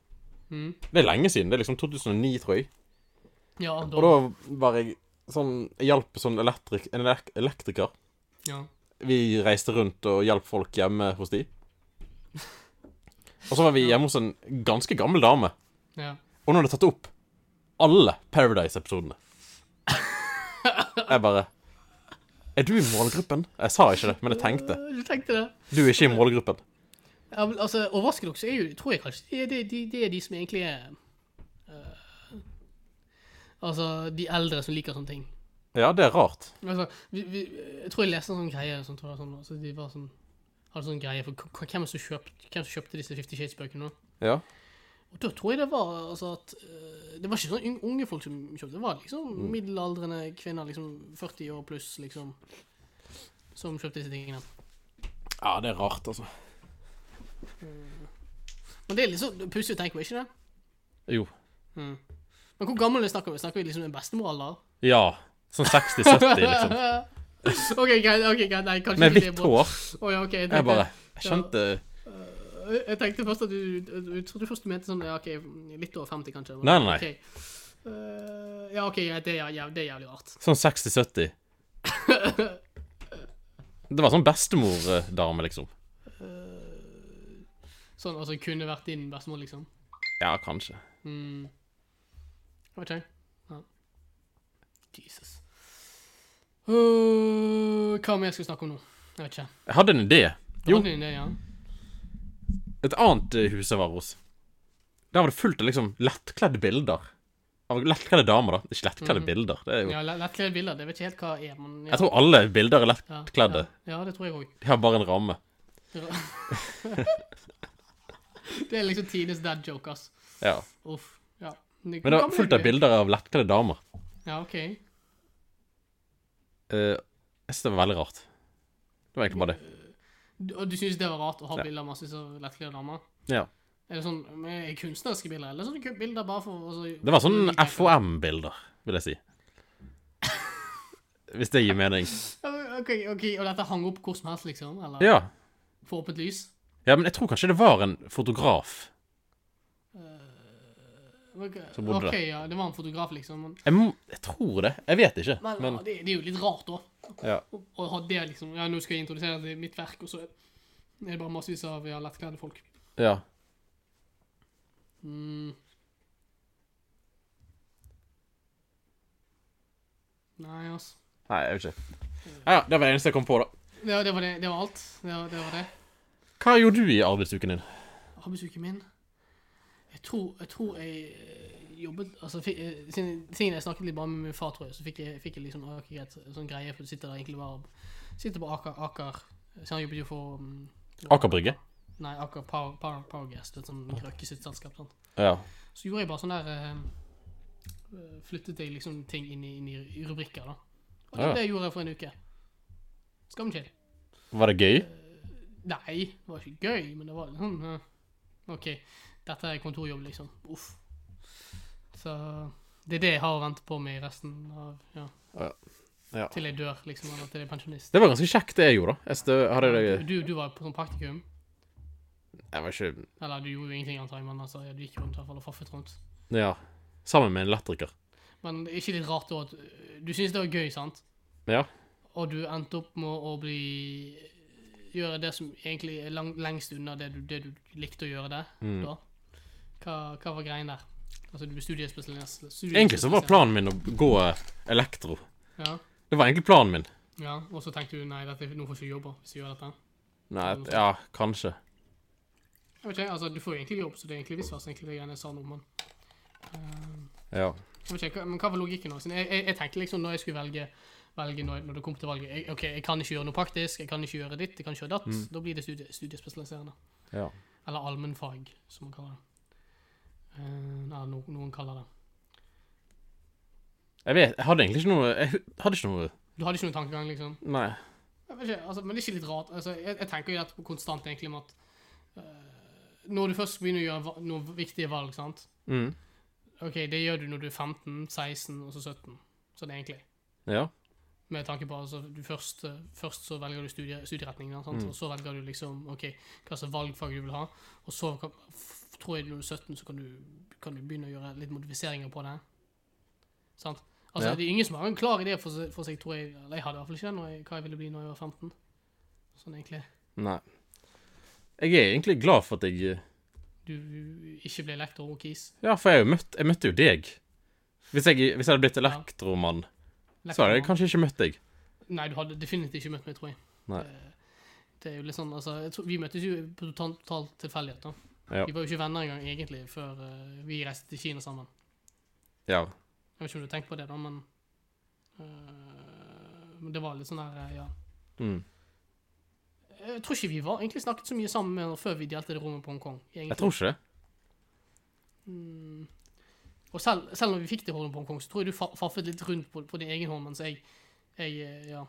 [SPEAKER 1] Mm.
[SPEAKER 2] Det er lenge siden. Det er liksom 2009, tror jeg.
[SPEAKER 1] Ja,
[SPEAKER 2] Og
[SPEAKER 1] da,
[SPEAKER 2] da var jeg sånn Jeg hjalp sånn elektrik, en elek elektriker.
[SPEAKER 1] ja.
[SPEAKER 2] Vi reiste rundt og hjalp folk hjemme hos de. Og så var vi hjemme hos en ganske gammel dame.
[SPEAKER 1] ja.
[SPEAKER 2] Og hun hadde tatt opp alle Paradise-episodene. Jeg bare Er du i målgruppen? Jeg sa ikke det, men jeg tenkte.
[SPEAKER 1] Du tenkte det?
[SPEAKER 2] Du er ikke i målgruppen.
[SPEAKER 1] Ja, men altså, Overraskende nok så er jo, tror jeg kanskje det er de, de, de, er de som egentlig er øh, Altså, de eldre som liker sånne ting.
[SPEAKER 2] Ja, det er rart.
[SPEAKER 1] Altså, vi, vi, jeg tror jeg leste en sånn greie som tror jeg, sånn, altså, de var sånn, hadde sånn greie for k- hvem som, kjøpt, hvem som kjøpte disse Fifty Shades-bøkene. nå.
[SPEAKER 2] Ja.
[SPEAKER 1] Og Da tror jeg det var altså at øh, Det var ikke sånn un- unge folk som kjøpte, det var liksom middelaldrende kvinner, liksom 40 år pluss, liksom, som kjøpte disse tingene.
[SPEAKER 2] ja, det er rart, altså.
[SPEAKER 1] Men det er litt sånn pussig å tenke på, ikke det?
[SPEAKER 2] Jo.
[SPEAKER 1] Men hvor gammel er snakker vi? Snakker vi liksom en bestemoralder?
[SPEAKER 2] Ja. Sånn 60-70, liksom.
[SPEAKER 1] OK, greit. ok, greit, Nei, kanskje
[SPEAKER 2] Med
[SPEAKER 1] ikke det er
[SPEAKER 2] hvitt
[SPEAKER 1] bra.
[SPEAKER 2] hår.
[SPEAKER 1] Å ja, ok, jeg tenkte-
[SPEAKER 2] Jeg bare Jeg skjønte
[SPEAKER 1] Jeg tenkte først at du, du Jeg trodde først du mente sånn ja, OK, litt over 50, kanskje.
[SPEAKER 2] Nei, nei, nei.
[SPEAKER 1] Ok. Eh, ja, OK, ja, det, er, jæv- det er jævlig rart.
[SPEAKER 2] Sånn 60-70. Det var sånn bestemordame, liksom.
[SPEAKER 1] Sånn altså kunne vært din bestemor, liksom.
[SPEAKER 2] Ja, kanskje.
[SPEAKER 1] Mm. OK. Ja. Jesus. Eh, hva mer skal vi snakke om nå? Jeg vet ikke.
[SPEAKER 2] Jeg hadde en idé. Jo,
[SPEAKER 1] Hadde du en idé, ja?
[SPEAKER 2] et annet eh, hus jeg var hos. Der var det fullt av liksom lettkledde bilder. Av lettkledde damer, da. Ikke lettkledde bilder. Det er jo
[SPEAKER 1] Mhm. ja lett- Lettkledde bilder. Det vet jeg ikke helt hva er, men ja.
[SPEAKER 2] Jeg tror alle bilder er
[SPEAKER 1] Ja,
[SPEAKER 2] lettkledde.
[SPEAKER 1] Ja, ja, det tror jeg òg.
[SPEAKER 2] De har bare en ramme.
[SPEAKER 1] Det er liksom tidenes dad joke, ass.
[SPEAKER 2] Ja.
[SPEAKER 1] Uff. Ja. Men
[SPEAKER 2] Men det var fullt av bilder av lettkledde damer.
[SPEAKER 1] Ja, OK.
[SPEAKER 2] Eh, jeg syns det var veldig rart. Det var egentlig bare det.
[SPEAKER 1] Du- Og du syns det var rart å ha
[SPEAKER 2] Ja.
[SPEAKER 1] bilder av masse så lettkledde damer?
[SPEAKER 2] Ja.
[SPEAKER 1] Er det sånn er det kunstneriske bilder, eller sånne kun- bilder bare for altså,
[SPEAKER 2] Det var sånn FOM-bilder, vil jeg si. Hvis det gir mening.
[SPEAKER 1] OK, ok, og dette hang opp hvor som helst, liksom? Eller
[SPEAKER 2] Ja.
[SPEAKER 1] for åpent lys?
[SPEAKER 2] ja, men jeg tror kanskje det var en fotograf.
[SPEAKER 1] Ok,
[SPEAKER 2] Så bodde det.
[SPEAKER 1] OK, ja, det var en fotograf, liksom. Men,
[SPEAKER 2] Jeg, må, jeg tror det. Jeg vet ikke.
[SPEAKER 1] men,
[SPEAKER 2] Men
[SPEAKER 1] ja, det, det er jo litt rart, da.
[SPEAKER 2] ja.
[SPEAKER 1] Å- Å ha det liksom Ja, nå skal jeg introdusere det i mitt verk, og så er er det bare massevis av ja, lettkledde folk.
[SPEAKER 2] ja.
[SPEAKER 1] Mm. Nei, altså.
[SPEAKER 2] Nei, jeg vet ikke. Ja, ja, det var det eneste jeg kom på, da.
[SPEAKER 1] Det, det var det. Det var alt. Det var det. Var det.
[SPEAKER 2] Hva gjorde du i arbeidsuken din?
[SPEAKER 1] Arbeidsuken min Jeg tror jeg, tror jeg eh, jobbet altså, fikk, eh, siden, siden jeg snakket litt bare med min far, tror jeg, så fikk jeg, fikk jeg liksom ah, ok, greit, sånn greie, for du sitter der egentlig bare og sitter på Aker, Aker Så han jobbet jo for mm,
[SPEAKER 2] Aker Brygge?
[SPEAKER 1] Nei, Aker Power, Power, Powergas, det er et sånn Røkke sitt selskap. Sant?
[SPEAKER 2] Ja.
[SPEAKER 1] Så gjorde jeg bare sånn der eh, eh, Flyttet jeg liksom ting inn i, inn i rubrikker, da. Og det,
[SPEAKER 2] Ja.
[SPEAKER 1] det gjorde jeg for en uke. Skam til.
[SPEAKER 2] Var det gøy?
[SPEAKER 1] Nei, det var ikke gøy, men det var litt sånn eh, OK, dette er kontorjobb, liksom. Uff. Så det er det jeg har å vente på meg i resten av ja,
[SPEAKER 2] Ja.
[SPEAKER 1] Til jeg dør, liksom, eller til jeg er pensjonist.
[SPEAKER 2] Det var ganske kjekt, det jeg gjorde. da. Jeg stø hadde det
[SPEAKER 1] Du, du var på sånn praktikum,
[SPEAKER 2] Jeg var ikke
[SPEAKER 1] eller du gjorde jo ingenting, antar jeg, men altså, ja, du gikk rundt i hvert fall og faffet rundt.
[SPEAKER 2] Ja. Sammen med en elektriker.
[SPEAKER 1] Men det er ikke litt rart da at eh, Du syns det var gøy, sant?
[SPEAKER 2] Ja.
[SPEAKER 1] Og du endte opp med å bli Gjøre det som egentlig er lang, lengst unna det du, det du likte å gjøre der.
[SPEAKER 2] Mm.
[SPEAKER 1] Da. Hva, hva var greien der? Altså, du ble studiespesialist studie
[SPEAKER 2] Egentlig så var planen min å gå eh, elektro.
[SPEAKER 1] Ja,
[SPEAKER 2] Det var egentlig planen min.
[SPEAKER 1] ja. Og så tenkte du nei, dette, nå får ikke du jobbe hvis du gjør dette.
[SPEAKER 2] Nei, ja, kanskje.
[SPEAKER 1] Jeg vet ikke, altså, Du får jo egentlig jobb, så det er egentlig visst verst, egentlig, det greiene jeg sa nå, men eh,
[SPEAKER 2] Ja.
[SPEAKER 1] jeg vet ikke, hva- Men hva var logikken? nå? Siden Jeg, jeg, jeg tenkte liksom når jeg skulle velge, velge når, når det kom til valget jeg, OK, jeg kan ikke gjøre noe praktisk, jeg kan ikke gjøre ditt, jeg kan ikke gjøre datt. Da blir det studie, studiespesialiserende.
[SPEAKER 2] Mm. Ja.
[SPEAKER 1] Eller allmennfag, som man kaller det. Eh, eller no, noen kaller det.
[SPEAKER 2] Jeg vet Jeg hadde egentlig ikke noe Jeg hu- hadde ikke noe
[SPEAKER 1] Du hadde ikke noen tankegang, liksom?
[SPEAKER 2] Nei.
[SPEAKER 1] Jeg vet ikke, altså, men det er ikke litt rart. Altså, jeg, jeg tenker jo dette på konstant, egentlig, med at eh, når du først begynner å gjøre va- noen viktige valg, sant
[SPEAKER 2] Mm.
[SPEAKER 1] OK, det gjør du når du er 15, 16 og så 17. Sånn egentlig.
[SPEAKER 2] Ja.
[SPEAKER 1] Med tanke på altså, du først, eh, først så velger du studie, studieretning, da, sant? og så velger du liksom OK, hva slags valgfag du vil ha, og så kan- f- tror jeg når du er 17, så kan du, kan du begynne å gjøre litt modifiseringer på det. Sant? Altså,
[SPEAKER 2] Ja.
[SPEAKER 1] Det er ingen som har en klar idé for, seg- for seg, tror jeg. Eller jeg hadde i hvert fall ikke det når jeg, hva jeg ville bli når jeg var 15. Sånn egentlig.
[SPEAKER 2] Nei. Jeg er egentlig glad for at jeg eh,
[SPEAKER 1] Du ikke ble lektor og kis.
[SPEAKER 2] Ja, for jeg, har jo møtt, jeg møtte jo deg. Hvis jeg, hvis jeg hadde blitt elektromann, så hadde jeg
[SPEAKER 1] Lektor-
[SPEAKER 2] kanskje ikke møtt deg.
[SPEAKER 1] Nei, du hadde definitivt ikke møtt meg, tror jeg.
[SPEAKER 2] Nei.
[SPEAKER 1] Det, det er jo litt sånn, altså, jeg tror, Vi møttes jo på totalt total tilfeldighet. da.
[SPEAKER 2] Ja.
[SPEAKER 1] Vi var jo ikke venner engang, egentlig, før eh, vi reiste til Kina sammen.
[SPEAKER 2] Ja.
[SPEAKER 1] Jeg vet ikke om du har tenkt på det, da, men eh, Men det var litt sånn der, eh, ja
[SPEAKER 2] Mm.
[SPEAKER 1] Jeg tror ikke vi var egentlig snakket så mye sammen med henne før vi delte det rommet på Hongkong. egentlig.
[SPEAKER 2] Jeg tror ikke det.
[SPEAKER 1] Mm. Og selv, selv når vi fikk det rommet på Hongkong, så tror jeg du fa faffet litt rundt på, på din egen hånd, mens jeg, jeg eh, Ja.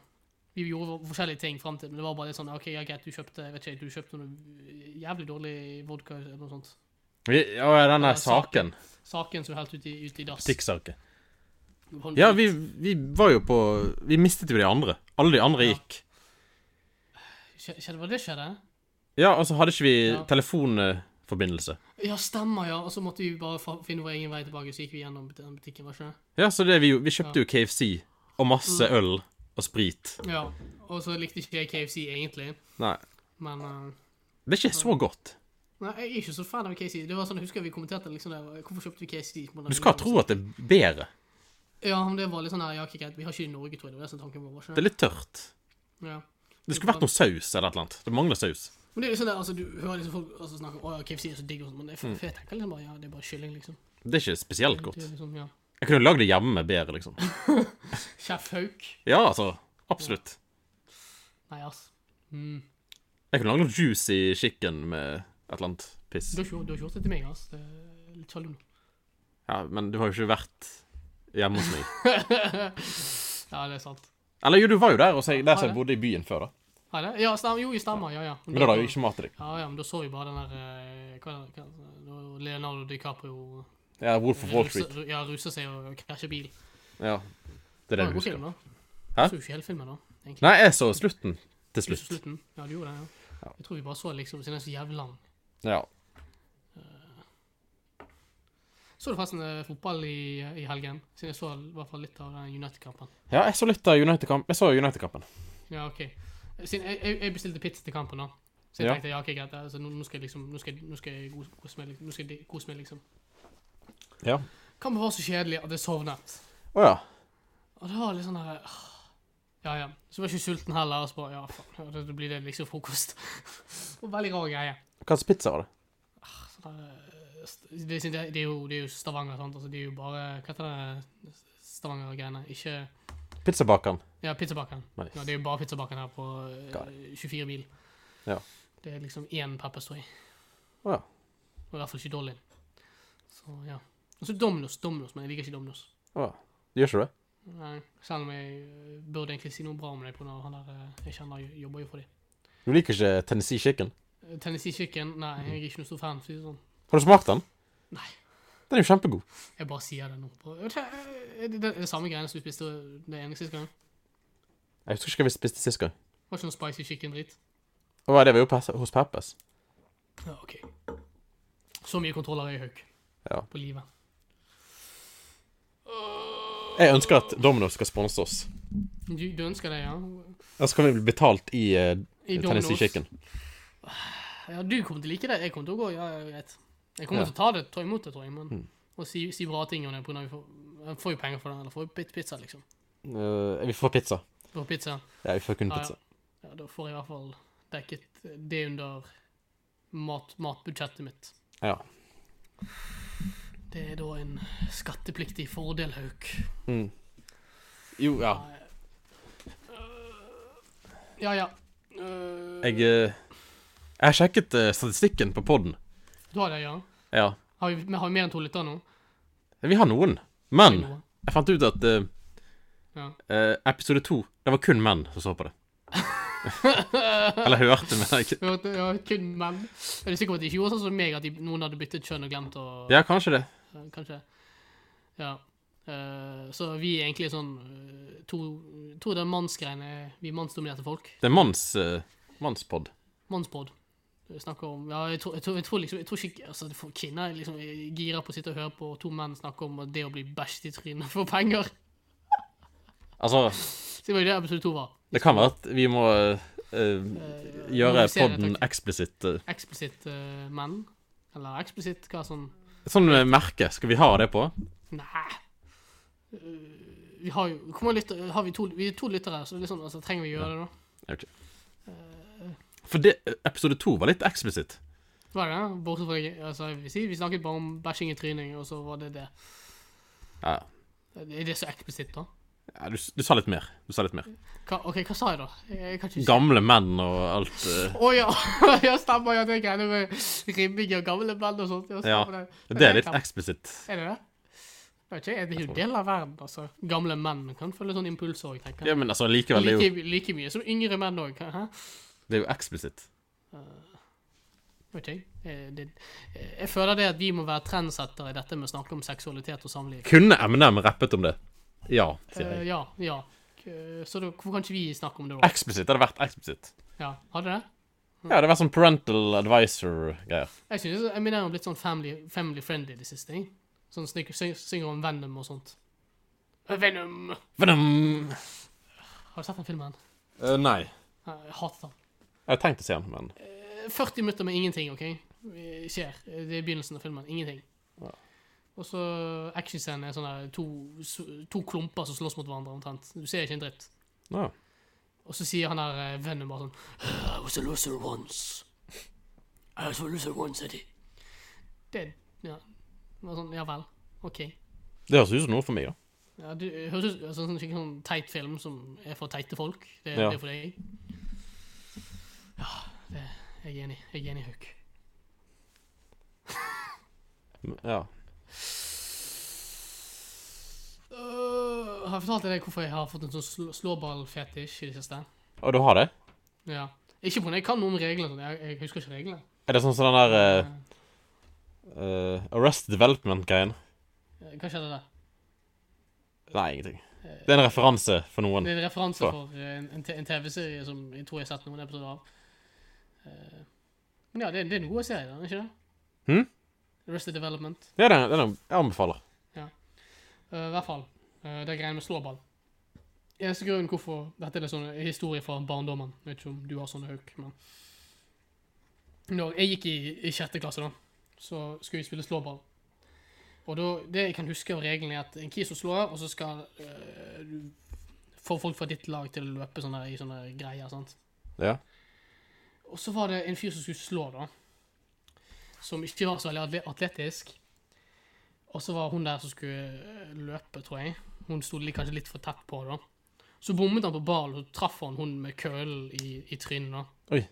[SPEAKER 1] Vi gjorde forskjellige ting frem til, men det var bare litt sånn OK, ja, greit, du kjøpte jeg vet ikke, du kjøpte noe eh, jævlig dårlig vodka eller noe sånt.
[SPEAKER 2] Vi- Å ja, den
[SPEAKER 1] Ja,
[SPEAKER 2] der saken.
[SPEAKER 1] Saken som er helt ute i, ut i dass.
[SPEAKER 2] Butikksaken.
[SPEAKER 1] Hånd-
[SPEAKER 2] Ja, vi, vi var jo på Vi mistet jo de andre. Alle de andre
[SPEAKER 1] Ja.
[SPEAKER 2] gikk.
[SPEAKER 1] Skje- Skjedde hva det skjedde?
[SPEAKER 2] Ja, og så hadde ikke vi
[SPEAKER 1] Ja.
[SPEAKER 2] telefonforbindelse.
[SPEAKER 1] Ja, stemmer, ja. Og så måtte vi bare fa- finne vår egen vei tilbake, så gikk vi gjennom den butikken, var ikke det?
[SPEAKER 2] Ja, så det vi jo Vi kjøpte jo KFC og
[SPEAKER 1] Mm.
[SPEAKER 2] masse øl og sprit.
[SPEAKER 1] Ja. Og så likte ikke jeg KFC egentlig,
[SPEAKER 2] Nei.
[SPEAKER 1] men eh,
[SPEAKER 2] Det er ikke så godt.
[SPEAKER 1] Nei, jeg er ikke så fan av KC. Det var sånn, jeg husker vi kommenterte liksom det. Hvorfor kjøpte vi KC?
[SPEAKER 2] Du skal tro at det er bedre.
[SPEAKER 1] Ja, men det var litt sånn her, ja, ok, greit. Vi har ikke det i Norge, tror jeg. Det var det som tanken vår, var ikke
[SPEAKER 2] Det er litt tørt.
[SPEAKER 1] Ja.
[SPEAKER 2] Det skulle vært noe saus eller et eller annet. Det mangler saus.
[SPEAKER 1] Men det er liksom det, altså, du hører liksom folk altså, snakke om, å ja, KFC er så digg og sånn, men det er for, for jeg tenker liksom bare, ja, det er bare kylling, liksom.
[SPEAKER 2] Det er ikke spesielt
[SPEAKER 1] Det
[SPEAKER 2] Mm. godt.
[SPEAKER 1] er liksom, ja.
[SPEAKER 2] Jeg kunne lagd det hjemme bedre, liksom.
[SPEAKER 1] Chef Hauk.
[SPEAKER 2] Ja, altså. Absolutt.
[SPEAKER 1] Nei, ass. Mm.
[SPEAKER 2] Jeg kunne lagd noe juicy chicken med et eller annet piss.
[SPEAKER 1] Du har ikke du har ikke gjort det til meg, ass. Det er litt sjalu nå.
[SPEAKER 2] Ja, men du har jo ikke vært hjemme hos meg.
[SPEAKER 1] Ja, det er sant.
[SPEAKER 2] Eller jo, du var jo der, og så, der
[SPEAKER 1] Har
[SPEAKER 2] som
[SPEAKER 1] jeg?
[SPEAKER 2] jeg bodde i byen før, da.
[SPEAKER 1] Ja, det, ja, stemmer. Jo, jeg stemmer, ja, ja.
[SPEAKER 2] Men da hadde jeg ikke mat til deg.
[SPEAKER 1] Ja, ja, men da så vi bare den der, eh, hva er det, hva er det, Leonardo DiCaprio
[SPEAKER 2] Ja, Wolf of Wall Street.
[SPEAKER 1] ruser- Ja, ruser seg og krasjer bil.
[SPEAKER 2] Ja. Det er det
[SPEAKER 1] var en god
[SPEAKER 2] du husker.
[SPEAKER 1] film, da.
[SPEAKER 2] Hæ?
[SPEAKER 1] Så jo ikke hele filmen, da. egentlig.
[SPEAKER 2] Nei, jeg så slutten. Til
[SPEAKER 1] Du så
[SPEAKER 2] slutt.
[SPEAKER 1] Slutten. Ja, du gjorde det,
[SPEAKER 2] Ja.
[SPEAKER 1] ja. Jeg tror vi bare så liksom, siden den er så jævlig lang.
[SPEAKER 2] Ja.
[SPEAKER 1] Så du forresten eh, fotball i, i helgen? Siden jeg så i hvert fall litt av den United-kampen.
[SPEAKER 2] ja, jeg så litt av United-kampen. Jeg så United-kampen.
[SPEAKER 1] Ja, ok. Siden jeg, jeg, jeg bestilte pizza til kampen, da. Så jeg
[SPEAKER 2] Ja.
[SPEAKER 1] tenkte ja, ok, greit, altså, nå, nå skal jeg liksom Nå skal, jeg- nå skal jeg kos- kose meg, liksom. Nå skal jeg kose meg, liksom.
[SPEAKER 2] Ja.
[SPEAKER 1] Kampen var så kjedelig at jeg sovnet.
[SPEAKER 2] Å ja.
[SPEAKER 1] Og det var litt sånn her ah, Ja, ja. Så var jeg ikke sulten heller. Og så bare, ja, faen, ja, da- da blir det liksom frokost. Det var en Veldig rar greie.
[SPEAKER 2] Hva slags pizza var det?
[SPEAKER 1] Sånn der, eh, st- det, det, det, er jo, det er jo Stavanger, sant? Altså, det er jo bare Hva heter det Stavanger-greiene? Ikke
[SPEAKER 2] Pizzabakeren.
[SPEAKER 1] Ja, pizzabakeren.
[SPEAKER 2] Nice.
[SPEAKER 1] Ja, det er jo bare pizzabakeren her på eh,
[SPEAKER 2] Got
[SPEAKER 1] 24 mil.
[SPEAKER 2] Ja.
[SPEAKER 1] Det er liksom én pepperstøy.
[SPEAKER 2] Å ja.
[SPEAKER 1] Og i hvert fall ikke Dolly. Så ja. Og så Domino's, Domino's, men jeg liker ikke Domino's.
[SPEAKER 2] Å ja. Du gjør ikke det?
[SPEAKER 1] Nei, selv om jeg eh, burde egentlig si noe bra om det, på grunn av han der eh, jeg kjenner jo- jobber jo for dem. Eh,
[SPEAKER 2] Du liker ikke Tennessee chicken?
[SPEAKER 1] Tennessee Chicken, nei, jeg er ikke noe stor fan. for å si det sånn.
[SPEAKER 2] Har du smakt den?
[SPEAKER 1] Nei.
[SPEAKER 2] Den er jo kjempegod.
[SPEAKER 1] Jeg bare sier det nå. Er det, er det, er det samme greiene som du spiste det ene sist gang?
[SPEAKER 2] Jeg husker ikke hva vi spiste sist gang.
[SPEAKER 1] Var ikke noe spicy chicken-dritt?
[SPEAKER 2] Å, hva er det vi var jo på- hos Peppers.
[SPEAKER 1] Ja, ok. Så mye kontroll har jeg, Hauk.
[SPEAKER 2] Ja.
[SPEAKER 1] På livet.
[SPEAKER 2] Jeg ønsker at Domino skal sponse oss.
[SPEAKER 1] Du, du ønsker det, ja?
[SPEAKER 2] Ellers kan vi bli betalt i, eh,
[SPEAKER 1] I
[SPEAKER 2] Tennessee
[SPEAKER 1] Domino's.
[SPEAKER 2] Chicken.
[SPEAKER 1] Ja, du kommer til å like det. Jeg kommer til å gå, ja, ja, greit. Jeg kommer
[SPEAKER 2] Ja. Mm.
[SPEAKER 1] til å ta det, ta imot det, tror jeg, men... Og si, si bra ting om det, på grunn av vi får... Jeg får jo penger for det, eller får jo pit- pizza, liksom.
[SPEAKER 2] Eh, vi får pizza.
[SPEAKER 1] Jeg Får pizza.
[SPEAKER 2] Ja, vi får kun
[SPEAKER 1] Ja,
[SPEAKER 2] pizza.
[SPEAKER 1] ja. ja, da får jeg i hvert fall dekket det under mat, matbudsjettet mitt.
[SPEAKER 2] Ja.
[SPEAKER 1] Det er da en skattepliktig fordel, Hauk.
[SPEAKER 2] Mm. Jo, ja.
[SPEAKER 1] Ja, ja. Øh,
[SPEAKER 2] Jeg, eh, jeg har sjekket eh, statistikken på poden.
[SPEAKER 1] Du har det, ja.
[SPEAKER 2] Ja.
[SPEAKER 1] Har vi, har vi mer enn to lyttere nå?
[SPEAKER 2] Vi har noen. Men
[SPEAKER 1] Noe.
[SPEAKER 2] jeg fant ut at eh,
[SPEAKER 1] Ja.
[SPEAKER 2] eh, episode to Det var kun menn som så på det. Eller hørte, men jeg ikke
[SPEAKER 1] Vi har hatt- Ja, kun menn. Er du sikker på at de ikke gjorde sånn som meg, at de, noen hadde byttet kjønn og glemt å eh,
[SPEAKER 2] Ja, kanskje det.
[SPEAKER 1] Kanskje. Ja. Eh, så vi er egentlig sånn eh, to, to av de mannsgreiene Vi er mannsdominerte folk.
[SPEAKER 2] Det er manns, eh, mannspod.
[SPEAKER 1] Mannspod. Vi snakker om Ja, jeg tror, jeg tror, jeg tror liksom Jeg tror ikke altså, for Kvinner er liksom gira på å sitte og høre på to menn snakke om det å bli bæsjet i trynet for penger.
[SPEAKER 2] Altså,
[SPEAKER 1] Så det var jo det episode to var.
[SPEAKER 2] det kan være at vi må eh,
[SPEAKER 1] Eh,
[SPEAKER 2] gjøre
[SPEAKER 1] normalisere
[SPEAKER 2] podden
[SPEAKER 1] tanken.
[SPEAKER 2] eksplisitt. eh.
[SPEAKER 1] Eksplisitt eh, menn. Eller eksplisitt hva som
[SPEAKER 2] Sånn eh, merke, skal vi ha det på?
[SPEAKER 1] Nei. Eh, vi har jo Hvor mange lyttere har vi? To, vi er to lyttere, så det er liksom, altså, trenger vi gjøre det nå?
[SPEAKER 2] Jeg vet ikke. For det, eh, episode to var litt eksplisitt.
[SPEAKER 1] Var det det? Bortsett fra det altså, jeg vil si, Vi snakket bare om bæsjing i tryning, og så var det det.
[SPEAKER 2] Ja,
[SPEAKER 1] Er det så eksplisitt, da?
[SPEAKER 2] ja du, du sa litt mer. Du sa litt mer.
[SPEAKER 1] Hva, OK, hva sa jeg, da? Jeg, jeg kan ikke huske.
[SPEAKER 2] Gamle menn og alt. eh,
[SPEAKER 1] Å ja. ja, stemmer. Ja, det er greiene med ribbing og gamle menn og sånt. Ja, stemmer
[SPEAKER 2] Ja,
[SPEAKER 1] det.
[SPEAKER 2] Det er litt
[SPEAKER 1] kan-
[SPEAKER 2] eksplisitt.
[SPEAKER 1] Er det det? Jeg vet ikke, det er jo en del av verden, altså. Gamle menn kan føle sånn impuls òg, tenker
[SPEAKER 2] Ja,
[SPEAKER 1] jeg.
[SPEAKER 2] men altså, likevel, det er jo,
[SPEAKER 1] Like, like mye som yngre menn òg. Vet
[SPEAKER 2] det er jo eksplisitt.
[SPEAKER 1] ikke jeg. Eh, Det, eh, jeg føler det at vi må være trendsettere i dette med å snakke om seksualitet og samliv.
[SPEAKER 2] Kunne Eminem rappet om det? Ja, sier
[SPEAKER 1] Eh,
[SPEAKER 2] jeg.
[SPEAKER 1] ja, ja. Eh, Så da, hvorfor kan ikke vi snakke om det, da?
[SPEAKER 2] Eksplisitt. Det hadde vært eksplisitt.
[SPEAKER 1] Ja, Hadde det?
[SPEAKER 2] Ja, det hadde vært sånn parental advisor-greier.
[SPEAKER 1] Jeg synes Eminem har blitt sånn family, family friendly i det siste. jeg. Sånn snik- syng- synger om Venom og sånt. Eh, Venom!
[SPEAKER 2] Venom!
[SPEAKER 1] Har du sett den filmen?
[SPEAKER 2] Eh, nei.
[SPEAKER 1] Nei, Jeg hater den.
[SPEAKER 2] Jeg hadde tenkt å se den, men
[SPEAKER 1] 40 minutter med ingenting, OK? Vi Skjer. Det er begynnelsen av filmen. Ingenting.
[SPEAKER 2] Ja.
[SPEAKER 1] Og så actionscenen er sånne to, s- to klumper som slåss mot hverandre, omtrent. Du ser ikke en dritt.
[SPEAKER 2] ja.
[SPEAKER 1] Og så sier han der eh, vennen bare sånn I was a loser once. I was a loser once, Eddie. Det Ja. Det var Sånn, ja vel. OK.
[SPEAKER 2] Det høres ut som noe for meg, da.
[SPEAKER 1] Ja, du det høres ut som en skikkelig sånn teit film som er for teite folk. Det,
[SPEAKER 2] Ja.
[SPEAKER 1] det er for deg. Ja, det, jeg er enig. Jeg er enig, Hauk.
[SPEAKER 2] Men, Ja.
[SPEAKER 1] Øh, har jeg fortalt deg hvorfor jeg har fått en sånn sl slåballfetisj i det siste?
[SPEAKER 2] Og du har det?
[SPEAKER 1] Ja. Ikke på grunn av jeg kan noen regler, sånn. jeg, jeg husker ikke reglene.
[SPEAKER 2] Er det sånn som den der eh, eh, Arrest Development-greien?
[SPEAKER 1] Eh, Hva skjedde der?
[SPEAKER 2] Nei, ingenting. Det er en referanse for noen.
[SPEAKER 1] Det er en referanse
[SPEAKER 2] Så.
[SPEAKER 1] for eh, en, en, te- en TV-serie som jeg tror jeg har sett noen episoder av. Eh, men ja, det, det er en god serie, da, er det ikke det?
[SPEAKER 2] Hm?
[SPEAKER 1] Arrested Development.
[SPEAKER 2] Ja, det er det er noe jeg anbefaler.
[SPEAKER 1] Eh, I hvert fall. eh, det er greiene med slåball. Eneste grunnen hvorfor Dette er litt sånn historie fra barndommen. Jeg vet ikke om du har sånne hauk, men Når jeg gikk i, i sjette klasse, da, så skulle vi spille slåball. Og da, det jeg kan huske av reglene, er at en kis som slår, og så skal eh, du få folk fra ditt lag til å løpe sånne, i sånne greier. sant?
[SPEAKER 2] Ja.
[SPEAKER 1] Og så var det en fyr som skulle slå, da. Som ikke var så veldig atle- atletisk. Og så var hun der som skulle eh, løpe, tror jeg. Hun sto li- kanskje litt for tett på, da. Så bommet han på ballen, og så traff han hun med kølen i, i trynet, da.
[SPEAKER 2] Oi.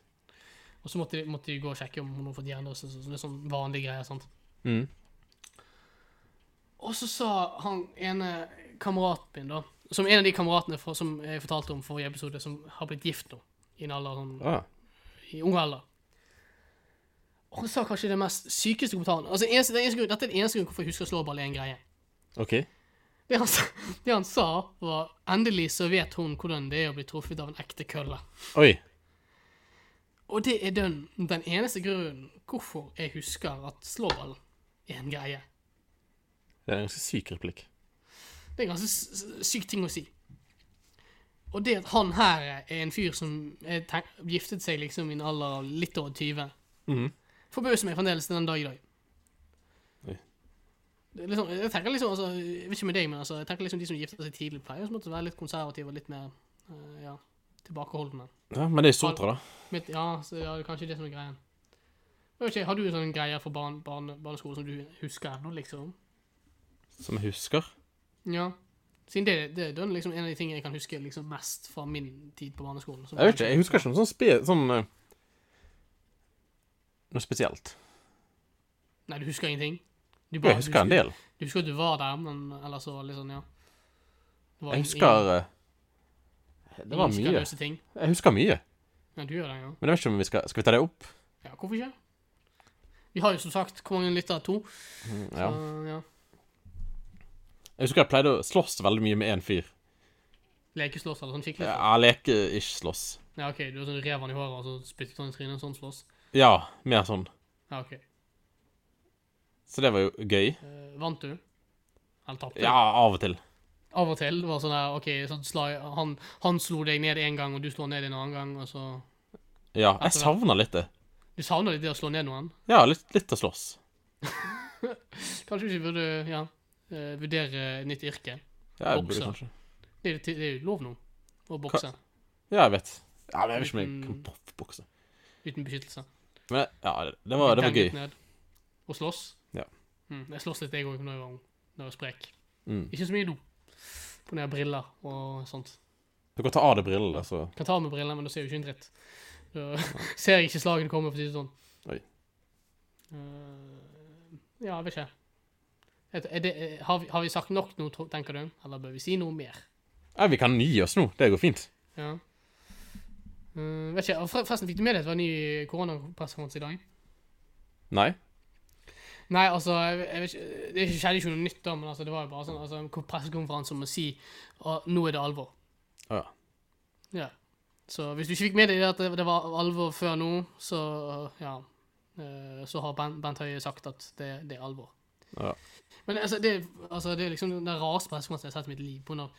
[SPEAKER 1] Og så måtte de, måtte de gå og sjekke om hun hadde fått hjernerystelse. Så, så det er sånn vanlige greier. sant?
[SPEAKER 2] Mm.
[SPEAKER 1] Og så sa han ene kameraten min, da Som en av de kameratene fra, som jeg fortalte om forrige episode, som har blitt gift nå. I en alder sånn
[SPEAKER 2] Ah.
[SPEAKER 1] i ung alder. Og han sa kanskje det mest sykeste kommentaren. Altså, eneste, det er eneste grunn, dette er den eneste grunnen hvorfor jeg husker slåball er en greie.
[SPEAKER 2] OK.
[SPEAKER 1] Det han, sa- det han sa, var endelig så vet hun hvordan det er å bli truffet av en ekte kølle.
[SPEAKER 2] Oi.
[SPEAKER 1] Og det er den, den eneste grunnen hvorfor jeg husker at slåball er en greie.
[SPEAKER 2] Det er en ganske syk replikk.
[SPEAKER 1] Det er en ganske s- s- syk ting å si. Og det at han her er en fyr som er tenk- giftet seg liksom i en alder av litt over 20,
[SPEAKER 2] Mhm.
[SPEAKER 1] forbauser meg fremdeles den dag i dag.
[SPEAKER 2] Oi.
[SPEAKER 1] Det er Liksom, jeg tenker liksom, altså, jeg vet ikke med deg, men altså, jeg tenker liksom de som gifter seg tidlig, pleier jo som måtte være litt konservative og litt mer eh, ja, tilbakeholdne.
[SPEAKER 2] Ja, men det er Sotra, da.
[SPEAKER 1] Mitt, ja, så ja, det er kanskje det som er greien. Jeg vet ikke, Har du en sånn greie fra barn, barne, barneskolen som du husker ennå, liksom?
[SPEAKER 2] Som jeg husker.
[SPEAKER 1] Ja. Siden det, det, det er liksom en av de tingene jeg kan huske liksom mest fra min tid på barneskolen. som-
[SPEAKER 2] Jeg vet ikke, jeg husker ikke noe sånn spe... Sånn eh, Noe spesielt.
[SPEAKER 1] Nei, du husker ingenting? Du
[SPEAKER 2] Jo, jeg husker en
[SPEAKER 1] du, husker,
[SPEAKER 2] del.
[SPEAKER 1] du husker at du var der, men ellers så liksom, ja. Det var
[SPEAKER 2] Jeg
[SPEAKER 1] ingen-
[SPEAKER 2] husker eh, Det var
[SPEAKER 1] ingen
[SPEAKER 2] mye.
[SPEAKER 1] skandaløse ting.
[SPEAKER 2] Jeg husker mye.
[SPEAKER 1] Ja, du gjør det, ja.
[SPEAKER 2] Men jeg vet ikke om vi skal Skal vi ta det opp?
[SPEAKER 1] Ja, hvorfor ikke? Vi har jo som sagt hvor mange lyttere? To? Så,
[SPEAKER 2] Ja.
[SPEAKER 1] ja.
[SPEAKER 2] Jeg husker jeg pleide å slåss veldig mye med én fyr.
[SPEAKER 1] Lekeslåss eller sånn skikkelig?
[SPEAKER 2] Ja, leke-ish slåss.
[SPEAKER 1] Ja, ok, du har sånn rev han i håret og så spyttet han i trynet og sånn slåss.
[SPEAKER 2] Ja, mer sånn.
[SPEAKER 1] Ja, OK.
[SPEAKER 2] Så det var jo gøy.
[SPEAKER 1] Eh, vant du? Eller tapte?
[SPEAKER 2] Ja, av og til.
[SPEAKER 1] Av og til var sånn der OK, sånn slag, han, han slo deg ned én gang, og du slo han ned en annen gang, og så
[SPEAKER 2] Ja, jeg
[SPEAKER 1] det-
[SPEAKER 2] savner litt det.
[SPEAKER 1] Du savner litt det å slå ned noen?
[SPEAKER 2] Ja, litt, litt å slåss.
[SPEAKER 1] Kanskje vi burde ja, eh, vurdere et nytt yrke?
[SPEAKER 2] Ja, jeg burde
[SPEAKER 1] Bokser.
[SPEAKER 2] kanskje.
[SPEAKER 1] Det er, det er jo lov nå å bokse
[SPEAKER 2] Ja, jeg vet. Ja, men jeg vet ikke om jeg kan proffbokse.
[SPEAKER 1] uten beskyttelse.
[SPEAKER 2] Men ja, det, det, var, det var
[SPEAKER 1] Tenk litt
[SPEAKER 2] gøy.
[SPEAKER 1] ned. Og slåss.
[SPEAKER 2] Ja.
[SPEAKER 1] Mm, jeg slåss litt, jeg òg, når jeg var ung. Når jeg var sprek.
[SPEAKER 2] Mm.
[SPEAKER 1] Ikke så mye nå. På ned briller og sånt.
[SPEAKER 2] Du kan ta av deg brillene, så
[SPEAKER 1] Kan ta av meg brillene, men da ser jeg jo ikke en dritt. Da ser jeg ikke slagene komme, for å si det sånn.
[SPEAKER 2] Oi.
[SPEAKER 1] Eh, ja, jeg vet ikke. Er- Er det, er- har, vi, har vi sagt nok nå, tro- tenker du? Eller bør vi si noe mer?
[SPEAKER 2] Ja, vi kan gi oss nå. Det går fint.
[SPEAKER 1] Ja. Eh, vet ikke, og forre- Forresten, fikk du med deg at det var en ny koronapressekonferanse i dag?
[SPEAKER 2] Nei?
[SPEAKER 1] Nei, altså, jeg, jeg vet ikke, det skjedde ikke noe nytt da, men altså, det var jo bare sånn, altså, en pressekonferanse om å si at nå er det alvor.
[SPEAKER 2] Å ja.
[SPEAKER 1] Ja. Så hvis du ikke fikk med deg det at det, det var alvor før nå, så ja, eh, så har Bent, Bent Høie sagt at det, det er alvor.
[SPEAKER 2] Ja.
[SPEAKER 1] Men altså, det, altså, det er liksom den rareste pressekonferansen jeg har sett i mitt liv. på grunn av-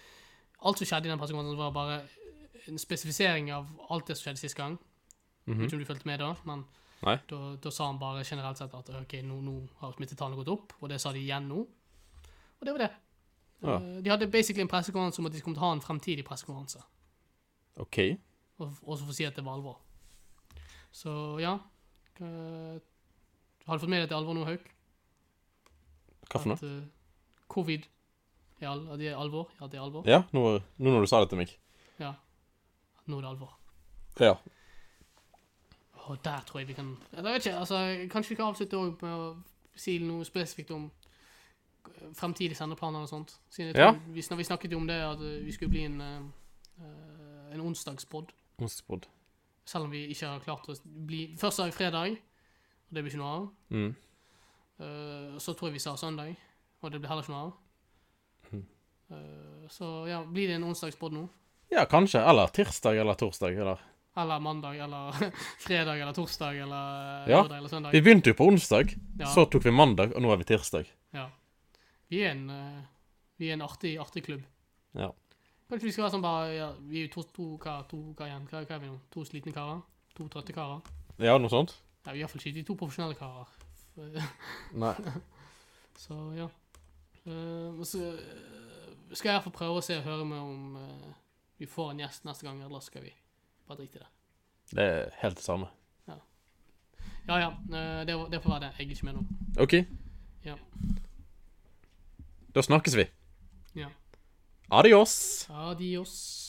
[SPEAKER 1] Alt som skjedde i den pressekonferansen var bare en spesifisering av alt det som skjedde sist gang.
[SPEAKER 2] Mhm.
[SPEAKER 1] Ikke om du fulgte med da, men
[SPEAKER 2] Nei.
[SPEAKER 1] da, da sa han bare generelt sett at ok, nå, nå har smittetallene gått opp, og det sa de igjen nå. Og det var det.
[SPEAKER 2] Ja.
[SPEAKER 1] Eh, De hadde basically en pressekonferanse om at de skulle ha en fremtidig pressekonferanse.
[SPEAKER 2] OK.
[SPEAKER 1] Og, og så få si at det var alvor. Så ja Eh, Har du fått med deg at det er alvor nå, Hauk?
[SPEAKER 2] Hva for noe?
[SPEAKER 1] At eh, covid er, al at det er alvor? Ja, det er alvor.
[SPEAKER 2] Ja, nå, nå når du sa det til meg.
[SPEAKER 1] Ja. Nå er det alvor.
[SPEAKER 2] Ja.
[SPEAKER 1] Og der tror jeg vi kan Eller Jeg vet ikke, altså, Kanskje vi kan avslutte også med å si noe spesifikt om eh, fremtidige sendeplaner og sånt. Siden jeg
[SPEAKER 2] Ja.
[SPEAKER 1] tror vi, snak vi snakket jo om det, at eh, vi skulle bli en, eh, eh, en onsdagspod.
[SPEAKER 2] Onsdagspod.
[SPEAKER 1] Selv om vi ikke har klart å bli Først sa vi fredag, og det blir ikke noe av.
[SPEAKER 2] Mm.
[SPEAKER 1] Eh, så tror jeg vi sa søndag, og det ble heller ikke noe av.
[SPEAKER 2] Mhm.
[SPEAKER 1] Eh, så ja, blir det en onsdagspod nå?
[SPEAKER 2] Ja, kanskje. Eller tirsdag eller torsdag. Eller
[SPEAKER 1] Eller mandag, eller fredag, eller torsdag, eller
[SPEAKER 2] Ja.
[SPEAKER 1] lørdag, eller søndag?
[SPEAKER 2] Vi begynte jo på onsdag,
[SPEAKER 1] Ja.
[SPEAKER 2] så tok vi mandag, og nå er vi tirsdag.
[SPEAKER 1] Ja. Vi er en, eh, vi er en artig, artig klubb.
[SPEAKER 2] Ja.
[SPEAKER 1] Kanskje vi skal være sånn bare ja, Vi er jo to, to, karer, to karer igjen. Hva, hva er vi nå? To slitne karer? To trøtte karer?
[SPEAKER 2] Ja, noe sånt?
[SPEAKER 1] Ja, vi er iallfall ikke de to profesjonelle karer.
[SPEAKER 2] Nei.
[SPEAKER 1] Så ja. Eh, og så eh, skal jeg iallfall prøve å se og høre med om eh, vi får en gjest neste gang, eller skal vi bare drite i det.
[SPEAKER 2] Det er helt det samme.
[SPEAKER 1] Ja ja, eh, det, det får være det. Jeg er ikke med nå.
[SPEAKER 2] OK.
[SPEAKER 1] Ja.
[SPEAKER 2] Da snakkes vi.
[SPEAKER 1] Ja.
[SPEAKER 2] Adios.
[SPEAKER 1] Adios.